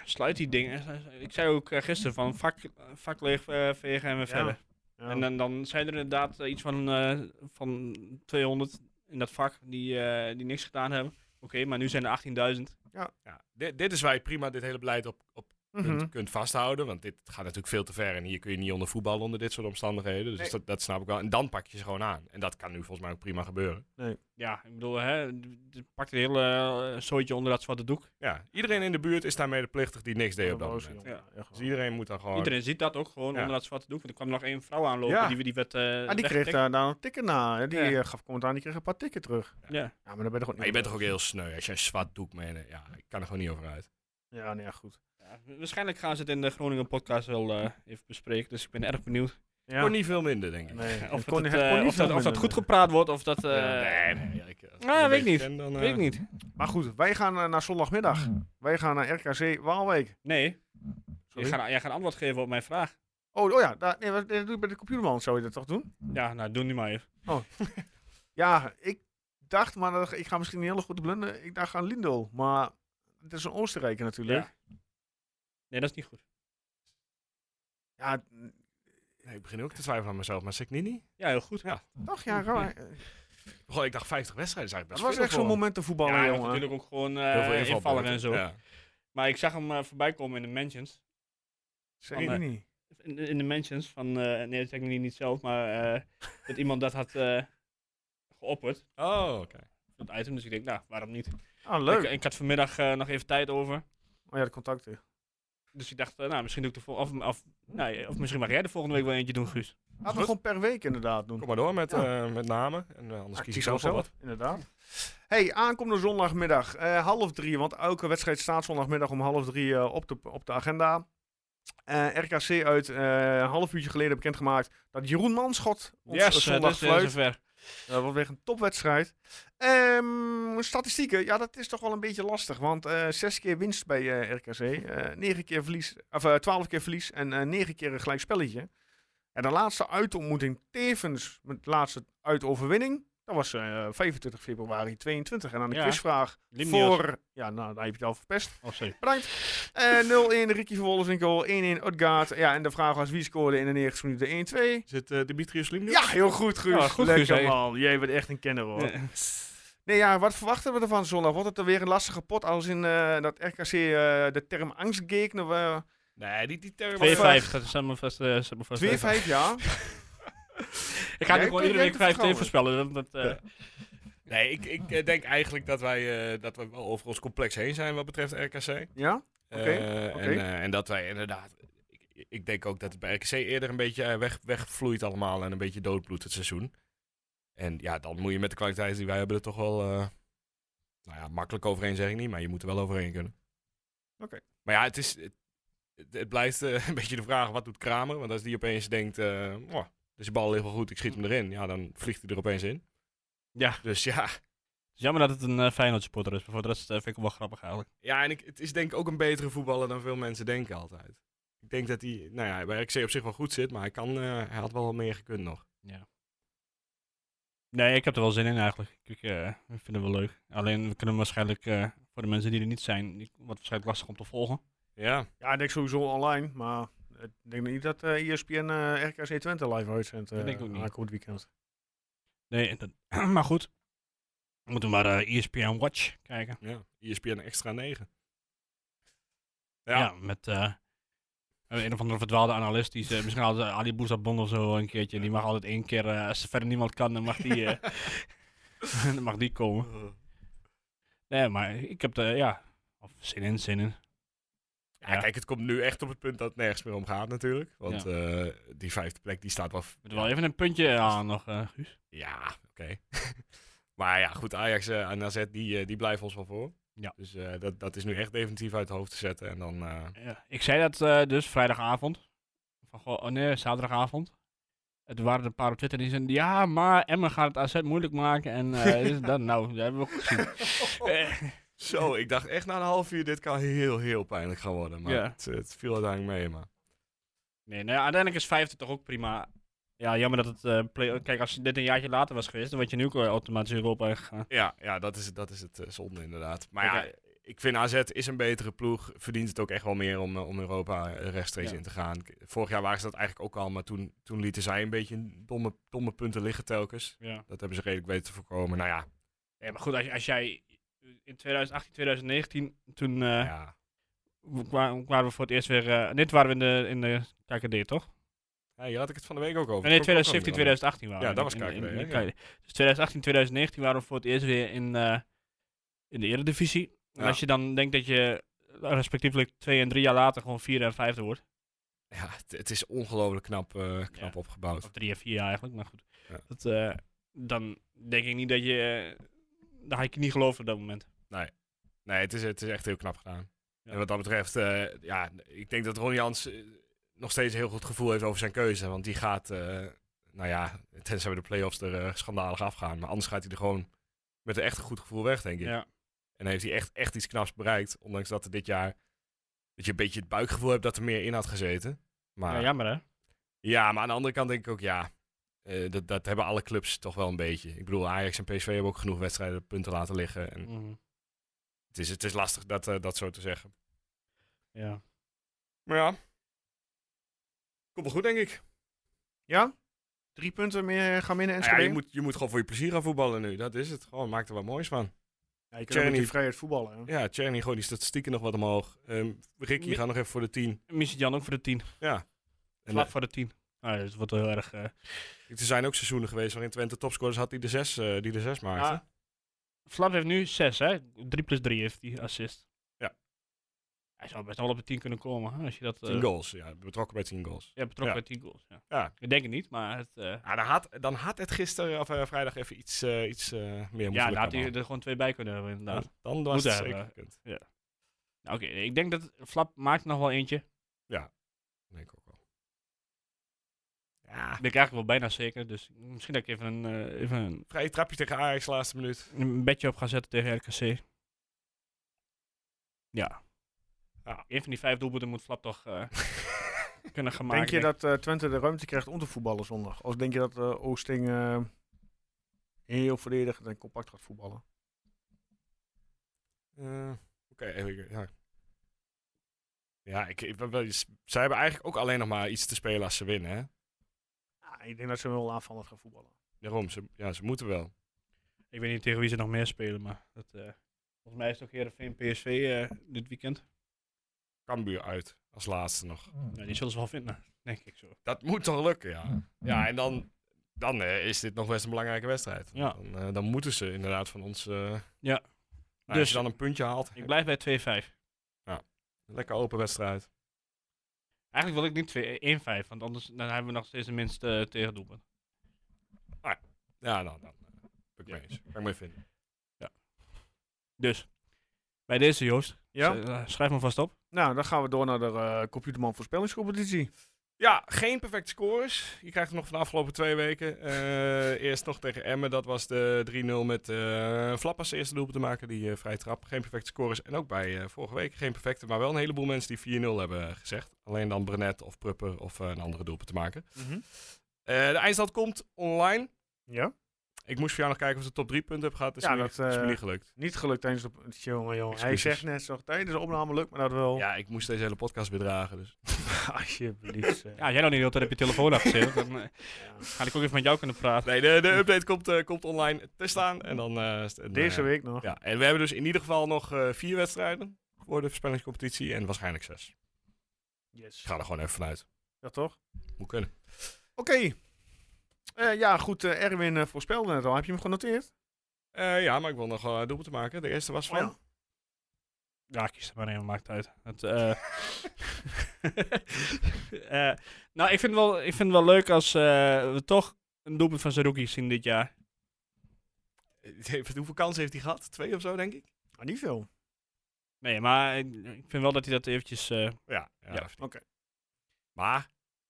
Sluit die dingen. Ik zei ook eh, gisteren van vak, vak leeg eh, vegen en weer Ja. verder. ja. En dan, dan zijn er inderdaad eh, iets van, eh, van 200 in dat vak die, eh, die niks gedaan hebben. Oké, maar nu zijn er 18.000. Ja, dit, dit is waar je prima dit hele beleid op, op kunt, Mhm. kunt vasthouden. Want dit gaat natuurlijk veel te ver. En hier kun je niet onder voetbal onder dit soort omstandigheden. Dus Nee. dat, dat snap ik wel. En dan pak je ze gewoon aan. En dat kan nu volgens mij ook prima gebeuren. Ja, ik bedoel, hè, pakt het hele eh, zooitje onder dat zwarte doek. Ja, iedereen in de buurt is daarmee de plichtig die niks deed op dat moment. Ja, echt Dus wel. iedereen moet dan gewoon... Iedereen ziet dat ook gewoon Ja. onder dat zwarte doek. Want er kwam nog één vrouw aanlopen Ja. die, die werd. eh Ah, die kreeg weggetikt. daar, daar een tikken na. hè. Die Ja. eh, gaf commentaar, en die kreeg een paar tikken terug. Ja. Ja, maar dan ben je toch ook Maar je bent toch ook heel sneu als je een zwart doek meeneemt. Ja, ik kan er gewoon niet over uit. Ja, nee, ja, goed. Ja, Waarschijnlijk gaan ze het in de Groningen podcast wel eh, even bespreken. Dus ik ben erg benieuwd. Ja. Kon niet veel minder, denk ik. Nee, Of, het kon- het, het eh, kon niet of, dat, veel of dat minder. goed gepraat wordt of dat. eh, Ja, nee, nee. ja, ik, als Ah, een weet ik beetje niet. ken, dan, eh, Weet ik niet. Maar goed, wij gaan eh, naar zondagmiddag. Wij gaan naar RKC Waalwijk. Nee. Jij Sorry. gaat, jij gaat antwoord geven op mijn vraag. Oh, oh ja, daar, nee, wat- nee, dat doe ik bij de computerman. Zou je dat toch doen? Ja, nou, doe nu maar even. Ja, ik dacht, maar dat, ik ga misschien een hele goede blunder. Ik dacht aan Lindel. Maar het is een Oostenrijker natuurlijk. Ja. Nee, dat is niet goed. Ja, Nee, ik begin ook te twijfelen aan mezelf, maar zeg niet niet. Ja, heel goed. Ja, toch? Ja, raar. Goh, ik dacht 50 wedstrijden is Dat eigenlijk best was echt zo'n moment te Ja, voetballen, hij was jongen. natuurlijk ook gewoon Heel veel eh invaller en zo. Ja. Maar ik zag hem eh, voorbij komen in de mentions. Zeker Van, eh, niet. In, in de mentions van, eh, nee dat zeg ik niet, niet zelf, maar eh, dat iemand dat had eh, geopperd, Oh, oké. dat item. Dus ik denk, nou, waarom niet? Ah, leuk. Ik, ik had vanmiddag eh, nog even tijd over. Oh ja, de contacten. Dus ik dacht, eh, nou, misschien doe ik de volgende, of, of, nou, ja, of misschien mag jij de volgende week wel eentje doen, Guus. Laten we Goed. gewoon per week inderdaad doen. Kom maar door met, eh, met namen. En, eh, anders Ah, kies ik kies zelf wel wat. Inderdaad. Hey, aankomende zondagmiddag, eh, half drie. Want elke wedstrijd staat zondagmiddag om half drie eh, op, de, op de agenda. Eh, RKC uit eh, een half uurtje geleden bekendgemaakt dat Jeroen Manschot ons eh, eh, zondag eh, fluit. zover. Dat wordt weer een topwedstrijd. Ehm, statistieken, ja, dat is toch wel een beetje lastig. Want eh, zes keer winst bij eh, RKC, eh, negen keer verlies, of eh, twaalf keer verlies en eh, negen keer een gelijk spelletje. En de laatste uitontmoeting tevens met laatste uitoverwinning. Dat was eh, 25 februari 22. En dan de Ja. quizvraag Limnios. voor... Ja, nou, daar heb je het al verpest. Oh, sorry. Bedankt. Eh, 0-1 Ricky van Wolfswinkel, 1-1 Utgaard. Ja, en de vraag was wie scoorde in de 90 minuten 1-2. Zit eh, Dimitrius Lim Ja, heel goed, Guus. Ja, goed, Lekker Guus, hè. man. Jij bent echt een kenner hoor. Eh, Nee, ja, wat verwachten we ervan zondag? Wordt het er weer een lastige pot als in eh, dat RKC eh, de term angstgegner... eh Nee, die, die term... 2-5, dat is helemaal vast. eh, is helemaal vast 2-5 jaar? Ik ga Jij nu gewoon kunt- jij iedere kunt week 5-2 vertrouwen. voorspellen. Dat, dat, eh, Nee, ik, ik eh, denk eigenlijk dat wij eh, dat we wel over ons complex heen zijn wat betreft RKC. Ja? Oké, Eh, oké. En, eh, en dat wij inderdaad... Ik, ik denk ook dat het bij RKC eerder een beetje eh, weg, wegvloeit allemaal en een beetje doodbloedt het seizoen. En ja, dan moet je met de kwaliteit die wij hebben er toch wel... eh, nou ja, makkelijk overheen zeg ik niet, maar je moet er wel overheen kunnen. Oké. Maar ja, het is... Het, het blijft eh, een beetje de vraag, wat doet Kramer? Want als die opeens denkt, eh, "Oh, Dus de bal ligt wel goed, ik schiet hem erin. Ja, dan vliegt hij er opeens in. Ja. Dus ja. Het is jammer dat het een eh Feyenoord supporter is, maar voor de rest eh, vind ik hem wel grappig eigenlijk. Ja, en ik, het is denk ik ook een betere voetballer dan veel mensen denken altijd. Ik denk dat hij, nou ja, bij RKC op zich wel goed zit, maar hij, kan, eh, hij had wel wat meer gekund nog. Nee, ik heb er wel zin in eigenlijk. Ik eh, ik vind het wel leuk. Alleen we kunnen hem waarschijnlijk, eh, voor de mensen die er niet zijn, die- wat waarschijnlijk lastig om te volgen. Ja, Ja, ik denk sowieso online, maar ik denk niet dat eh ESPN eh, RKC Twente live uitzendt eh Dat denk ik ook niet. aankomend weekend. Nee, dat- maar goed. We moeten maar eh ESPN Watch kijken. ja. E ESPN extra 9. Ja, Ja. met eh, een of andere verdwaalde analist. Die is, eh, misschien altijd Ali Bouzabon of zo een keertje. Die mag altijd één keer, eh, als er verder niemand kan, dan mag die, eh, dan mag die komen. Nee, maar ik heb er, ja, of zin in, zin in. Ja, Ja. kijk, het komt nu echt op het punt dat het nergens meer om gaat natuurlijk. Want Ja. eh, die vijfde plek, die staat wel... f- Moet er wel even een puntje aan nog, eh, Guus. Ja, oké. maar ja, goed, Ajax eh, en AZ, die, eh, die blijven ons wel voor. Ja. Dus eh, dat, dat is nu echt definitief uit het hoofd te zetten. En dan, eh, Ja, ik zei dat eh, dus vrijdagavond. Van, goh, oh nee, zaterdagavond. Het waren er een paar op Twitter die zeiden, ja, maar Emmen gaat het AZ moeilijk maken. En eh, dit is dat, nou, dat hebben we ook gezien. Eh, Zo, ik dacht echt na een half uur, dit kan heel, heel pijnlijk gaan worden. Maar Ja. het, eh, het viel uiteindelijk mee, maar... Nee, nou ja, uiteindelijk is vijfde toch ook prima. Ja, jammer dat het... eh, play- Kijk, als dit een jaartje later was geweest, dan had je nu ook eh, automatisch Europa gegaan. Ja, ja dat, is, dat is het eh, zonde inderdaad. Maar ja, Oké. ik vind AZ is een betere ploeg. Verdient het ook echt wel meer om, eh, om Europa eh, rechtstreeks Ja. in te gaan. K- Vorig jaar waren ze dat eigenlijk ook al, maar toen, toen lieten zij een beetje domme, domme punten liggen telkens. Ja. Dat hebben ze redelijk weten te voorkomen. Nou ja, ja maar goed, als, als jij in 2018, 2019, toen eh, ja. wa- waren we voor het eerst weer... eh dit waren we in de, in de KKD, toch? ja hier had ik het van de week ook over. nee, Kon ik ook al 2017, niet meer 2018 waren Ja, we. dat was in- in- KKD, in- in- hè, ja. Dus 2018, 2019 waren we voor het eerst weer in, eh, in de Eredivisie. En Ja. als je dan denkt dat je eh, respectievelijk twee en drie jaar later gewoon vierde en vijfde wordt. aan. Ja, het, het is ongelooflijk knap, eh, knap Ja. opgebouwd. Of drie en vier jaar eigenlijk, maar goed. Ja. Dat, eh, dan denk ik niet dat je... eh, dan ga ik je niet geloven op dat moment. Nee, het is, het is echt heel knap gedaan. Ja. En wat dat betreft, eh, ja, ik denk dat Ron Jans eh, nog steeds een heel goed gevoel heeft over zijn keuze. Want die gaat, eh, nou ja, tenzij we de play-offs er eh, schandalig afgaan. Maar anders gaat hij er gewoon met een echt goed gevoel weg, denk ik. Ja. En heeft hij echt, echt iets knaps bereikt. Ondanks dat er dit jaar, dat je een beetje het buikgevoel hebt dat er meer in had gezeten. Maar ja, ja, jammer hè? maar aan de andere kant denk ik ook, ja, eh, dat, dat hebben alle clubs toch wel een beetje. Ik bedoel, Ajax en PSV hebben ook genoeg wedstrijden punten laten liggen. En Mhm. het, is, het is lastig dat, eh, dat zo te zeggen. Ja. Maar ja. Komt wel goed, denk ik. Ja? Drie punten meer gaan winnen en Nou ja, je, moet, je moet gewoon voor je plezier gaan voetballen nu. Dat is het. Gewoon, maak er wat moois van. ja, je kunt ook met die Tjerni. vrijheid voetballen. hè. Ja, Tjerny, gooi die statistieken nog wat omhoog. Ehm Ricky, Mi- ga nog even voor de 10. Missie Jan ook voor de tien. Ja. En, Vlak voor de tien. Ah, dat wordt wel heel erg... eh, eh, er zijn ook seizoenen geweest waarin Twente topscorers had die de 6 eh die de zes maakte. Ah, Flap heeft nu 6, hè? 3 plus 3 heeft hij assist. Ja. Hij zou best wel op de 10 kunnen komen hè, als je dat. eh, 10 goals. Ja, betrokken bij 10 goals. Ja, betrokken Ja. bij 10 goals. Ja. Ja. Ik denk het niet, maar het. eh, Ah, dan, had, dan had het gisteren of eh, vrijdag even iets, eh, iets eh, meer moeten ja, lukken daar had hij allemaal. er gewoon twee bij kunnen hebben, inderdaad. Ja, Dan was Moet het hebben. zeker gekund. Nou, Oké, ik denk dat Flap maakt nog wel eentje. Denk ik ook wel. Ja, Ben ik eigenlijk wel bijna zeker. Dus misschien dat ik even een, eh, even een, vrije trapje tegen Ajax laatste minuut. een bedje op ga zetten tegen RKC. Ja. Ja. Een van die vijf doelpunten moet Flap toch eh, kunnen gaan maken. Denk je dat eh, Twente de ruimte krijgt om te voetballen zondag? Of denk je dat eh, Oosting eh, heel verdedigend en compact gaat voetballen? Eh, Oké, even- ja. Ja, ik, ik, ben wel eens- zij hebben eigenlijk ook alleen nog maar iets te spelen als ze winnen, hè? Ja, ik denk dat ze wel aanvallend gaan voetballen. Daarom, ze, ja, ze moeten wel. Ik weet niet tegen wie ze nog meer spelen, maar dat, eh, volgens mij is het ook Heerenveen PSV eh, dit weekend. Cambuur uit, als laatste nog. Ja, die zullen ze wel vinden, denk ik zo. Dat moet toch lukken, ja. Ja, en dan, dan eh, is dit nog best een belangrijke wedstrijd. Ja. Dan, eh, dan moeten ze inderdaad van ons... eh, nou, Ja. als Dus- je dan een puntje haalt, Ik blijf bij 2-5. lekker open wedstrijd. Eigenlijk wil ik niet 2 eh, 1-5, want anders dan hebben we nog steeds de minste eh, tegendoelpunt. Ja, nou, dan eh, ben ik Ja. mee eens. Kan ik mee vinden. Dus, bij deze Joost, Ja? z- eh, schrijf me vast op. Nou, dan gaan we door naar de eh, computerman voorspellingscompetitie. Ja, geen perfecte scores. Je krijgt hem nog van de afgelopen twee weken. Eh, eerst nog tegen Emmen, dat was de 3-0 met eh Flap als eerste doelpunt te maken, die eh, vrij trap. Geen perfecte scores. En ook bij eh, vorige week geen perfecte, maar wel een heleboel mensen die 4-0 hebben gezegd. Alleen dan Brenet of Prupper of eh, een andere doelpunt te maken. Mhm. Eh, de eindstand komt online. Ja? Ik moest voor jou nog kijken of ze de top 3 punten hebben gehad. Dat is, Ja, me, dat, dat, is me eh, niet gelukt. Niet gelukt tijdens de... Jongen, jongen. Hij Excuses. zegt net zo, tijdens de opname lukt me dat wel. Ja, ik moest deze hele podcast bedragen. Dus. Alsjeblieft. zeg. Ja, als jij nou niet de hele tijd op je telefoon hebt gezeten, dan eh, ga ik ook even met jou kunnen praten. Nee, de, de update komt, eh, komt online te staan. En dan, eh, is het een, Deze eh, week nog. Ja, en we hebben dus in ieder geval nog eh, vier wedstrijden voor de voorspellingscompetitie en waarschijnlijk zes. Yes. Ik ga er gewoon even vanuit. Ja, toch? Moet kunnen. Oké. Eh, ja, goed. eh, Erwin eh, voorspelde net al. Heb je hem genoteerd? Eh, ja, maar ik wil nog wel een doelpunt maken. De eerste was van. Oh Ja, kies er maar een, maakt uit. Het, eh, eh, nou, ik vind, het wel, ik vind het wel leuk als eh, we toch een doelpunt van Saruki zien dit jaar. Eh, Hoeveel kansen heeft hij gehad? Twee of zo, denk ik. Ah, niet veel. Nee, maar ik, ik vind wel dat hij dat eventjes... eh, Ja, ja, Ja, oké. oké. Maar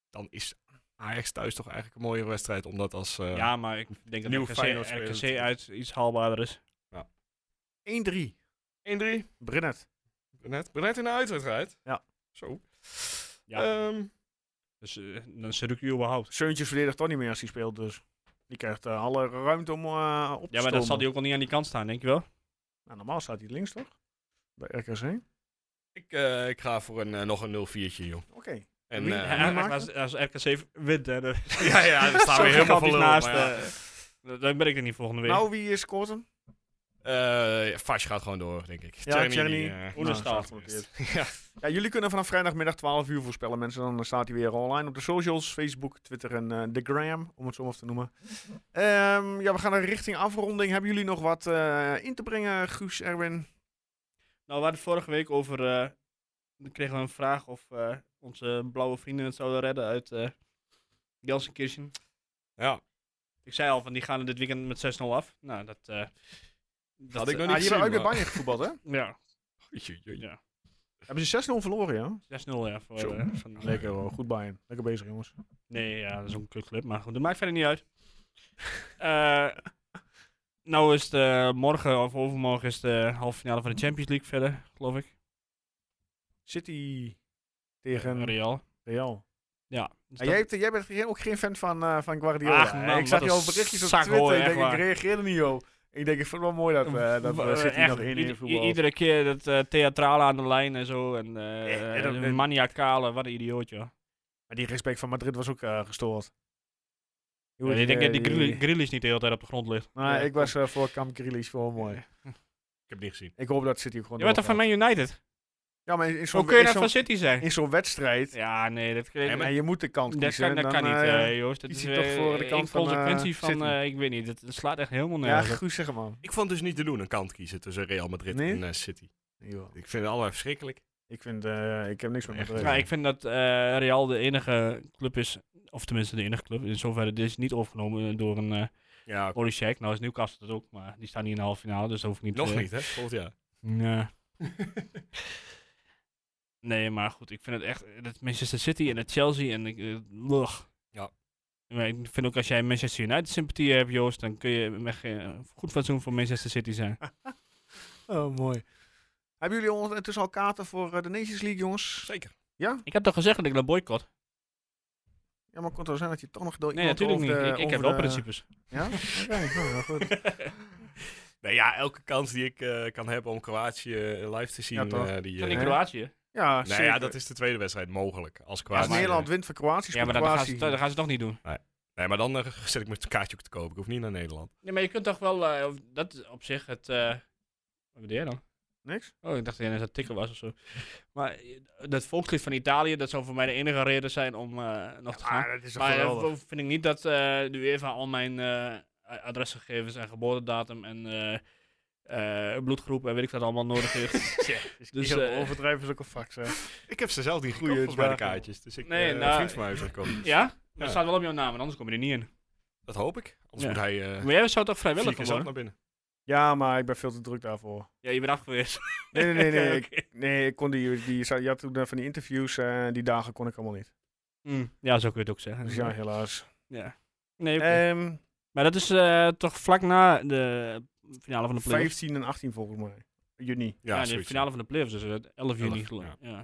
dan is Ajax thuis toch eigenlijk een mooiere wedstrijd, omdat als. eh, ja, maar ik denk nieuw dat Feyenoord RKC, spelers. RKC uit iets haalbaarder is. 1-3. 1-3. Brennet. Net, net in de uitwedstrijd. Ja. Zo. Ja. Ehm, Dus eh, dan Saruki überhaupt. Seuntjes verdedigt toch niet meer als hij speelt, dus. Die krijgt eh, alle ruimte om eh, op te Ja, maar dan zal stomen. hij ook wel niet aan die kant staan, denk je wel? Nou, normaal staat hij links, toch? Bij RKC. Oké. ik, eh, ik ga voor een, eh, nog een 0-4'tje, joh. En, Wie- eh, Ja, Ja, maar- als, als RKC wint, hè, dan ja, ja, daar staan we helemaal van gigantisch lul, naast. maar ja. eh, dan- dan ben ik er niet volgende week. Nou, wie eh, scoort hem? Eh Fash gaat gewoon door, denk ik. Ja, Tjerni. die, eh, Oenestal. staat genoteerd. Ja, jullie kunnen vanaf vrijdagmiddag 12 uur voorspellen, mensen. Dan eh, staat hij weer online op de socials. Facebook, Twitter en eh, de Gram, om het zo maar even te noemen. Ehm, ja, we gaan naar richting afronding. Hebben jullie nog wat eh, in te brengen, Guus, Erwin? Nou, we hadden vorige week over. eh, we kregen we een vraag of eh, onze blauwe vrienden het zouden redden uit eh Gelsenkirchen. ja, Ik zei al van die gaan er dit weekend met 6-0 af. Nou, dat. eh dat Had ik nog Ah, niet die hebben uit de gezien, man. Bayern gevoetbald, hè? Ja, Oei, oei, oei. ja. 6-0 Hebben ze 6-0 verloren, ja? ja. Voor, Zo. eh, van, Lekker hoor, goed Bayern. Lekker bezig, jongens. Nee, ja, dat is ook een kutclub. Maar goed, dat maakt verder niet uit. Eh, nou is het eh, morgen of overmorgen is de halve finale van de Champions League verder, geloof ik. City tegen Real. Real. Ja. Dus En dat- jij, hebt- jij bent geen- ook geen fan van, eh, van Guardiola. Ach, hè? man, ik zag wat je al een berichtjes op zak, Twitter. hoor, ik echt denk, ik waar. reageerde niet, joh. Ik denk, ik vind het wel mooi dat, we eh, dat W- we City echt, nog 1-1 ieder- i- voetbal. Iedere keer dat eh, theatrale aan de lijn en zo. En eh Eh, eh, dat- een maniacale, wat een idioot, joh. Maar die respect van Madrid was ook eh, gestoord. eh, Ja, ik denk dat die Grealish- Grealish niet de hele tijd op de grond ligt. Maar Ja. ik was eh, voor Camp Grealish wel mooi. Ik heb het niet gezien. Ik hoop dat City ook gewoon Je bent toch van doorgaat. Man United? Ja, maar in Hoe zo'n kun je in nou van zo'n- City zijn? in zo'n wedstrijd... Ja, nee, dat, Ja, maar- en je moet de kant dat, kiezen. kan, dat dan, kan niet, eh, eh, Joost. Dat kies is je toch eh, voor de een kant van, eh, consequentie van, City. eh, ik weet niet, dat, dat slaat echt helemaal ja, nergens op. goed zeggen, man. Ik vond het dus niet te doen, een kantkiezen tussen Real Madrid Nee? en eh, City. Nee, joh. Ik vind het allebei verschrikkelijk. Ik vind... eh, ik heb niks met Echt. Madrid. Ja, ik vind dat eh, Real de enige club is, of tenminste de enige club, in zoverre dit is niet opgenomen eh, door een eh Ja, Olysek. Nou is Newcastle dat ook, maar die staan niet in de halve finale, dus dat hoef ik niet nog eh, niet, hè? Volgend jaar. Nee. nee, maar goed, ik vind het echt. Dat Manchester City en dat Chelsea en ik. eh, ugh. Ja. Maar ik vind ook als jij Manchester United sympathie hebt, Joost, dan kun je met geen goed fatsoen voor Manchester City zijn. Oh, mooi. Hebben jullie ondertussen al kaarten voor eh, de Nations League, jongens? Zeker. Ik heb toch gezegd dat ik dat boycott? Ja, maar het kon toch zijn dat je toch nog door Nee, iemand natuurlijk niet. over de- ik, ik heb over de- wel principes. Ja? Oké, nou, nou, goed. Nou ja, elke kans die ik eh, kan hebben om Kroatië eh, live te zien, Ja, toch? eh, die... Van eh, in hè? Kroatië. Ja, nou ja, zeker. dat is de tweede wedstrijd mogelijk, als Als Kroatië... Nederland wint van Kroatië, Ja, speelt maar dat gaan, ze, Kroatië. dat gaan ze toch niet doen. Nee, maar dan eh, zet ik mijn kaartje ook te kopen. Ik hoef niet naar Nederland. Nee, maar je kunt toch wel. eh, of- dat is op zich het. eh, wat bedoel jij dan? Niks? Oh, ik dacht dat jij net tikker was of zo. Maar eh, dat volkslied van Italië, dat zou voor mij de enige reden zijn om eh, nog te gaan. dat is Maar eh, vind ik niet dat eh de UEFA al mijn eh, adresgegevens en geboortedatum en eh, eh, bloedgroep en weet ik wat allemaal nodig heeft. dus, Dus, eh, overdrijven is ook een vak, zeg. Ik heb ze zelf niet Goeie gekocht, volgens mij, de vraag. kaartjes. Dus ik, Nee, eh, nou, een vriend van mij heeft ze gekocht. ja? Maar het Ja. staat wel op jouw naam, want anders kom je er niet in. Dat hoop ik. Anders Ja. moet hij eh Maar jij zou toch vier vrijwillig keer zelf worden? naar binnen. Ja, maar ik ben veel te druk daarvoor. Ja, je bent afgewezen. Nee, nee, nee. nee, Oké. ik, nee ik kon die, die, je had toen eh, van die interviews, eh, die dagen kon ik allemaal niet. Hmm. Ja, zo kun je het ook zeggen. Dus ja, helaas. Ja. Nee, oké. Ehm maar dat is eh, toch vlak na de finale van de playoffs. 15 en 18 volgens mij. Juni. Ja, de zoiets, finale van de playoffs is eh, 11 juni. Elf, geloof ik. ja. ja.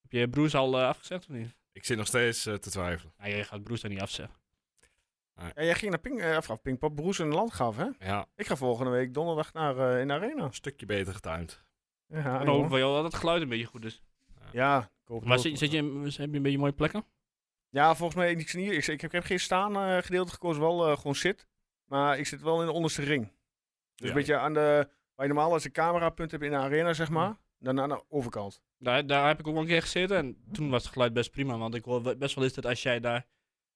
Heb je Broes al eh, afgezegd of niet? Ik zit nog steeds eh, te twijfelen. Ja, je gaat Broes daar niet afzeggen. Ja, jij ging naar Ping, eh, of, Pinkpop Broes een land gaf, hè? Ja, Ik ga volgende week donderdag naar eh, in de arena. een stukje beter getimed. Ja, En jongen. ook wel Oh, dat het geluid een beetje goed is. ja ik hoop het Maar ook. zit, zit je, in- heb je een beetje mooie plekken? Ja, volgens mij niks hier. Ik, ik heb, ik heb geen staan eh, gedeelte gekozen, wel eh, gewoon zit. Maar ik zit wel in de onderste ring. Dus Ja. een beetje aan de, waar je normaal als een camerapunt hebt in de arena, zeg maar. Dan aan de overkant. Daar, daar heb ik ook wel een keer gezeten en toen was het geluid best prima. Want ik hoor we- best wel eens dat als jij daar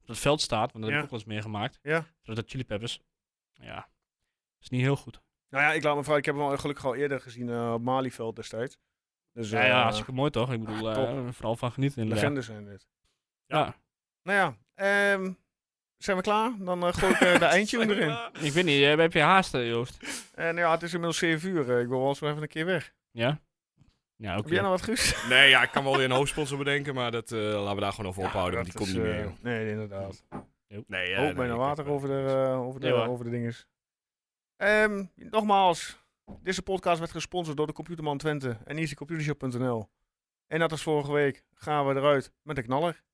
op het veld staat, want dat heb Ja. ik ook wel eens meegemaakt, Ja. dat dat chili peppers, ja, is niet heel goed. Nou ja, ik laat me vragen. Ik heb hem al gelukkig al eerder gezien eh, op Malieveld destijds. Dus ja, ja, eh, hartstikke mooi toch? Ik bedoel, ah, eh, top. vooral van genieten inderdaad. legenden zijn dit. Ja. Nou ja, ehm, zijn we klaar? Dan eh, gooi ik eh, de eindtune erin. Eh Ik weet niet, eh, heb je haast, eh, Joost? nou ja, het is inmiddels 7 uur. eh, ik wil wel zo even een keer weg. Ja? Ja, oké. Heb jij nog wat, Guus? Nee, ja, ik kan wel weer een hoofdsponsor bedenken, maar dat eh, laten we daar gewoon over ophouden, want die komt niet meer. joh. eh, Nee, inderdaad. Nee, Hoop bijna water over de, eh, over de, Nee, hoor. over de dinges. Ehm, nogmaals, deze podcast werd gesponsord door de Computerman Twente en easycomputershop.nl. En dat is vorige week. Gaan we eruit met de knaller.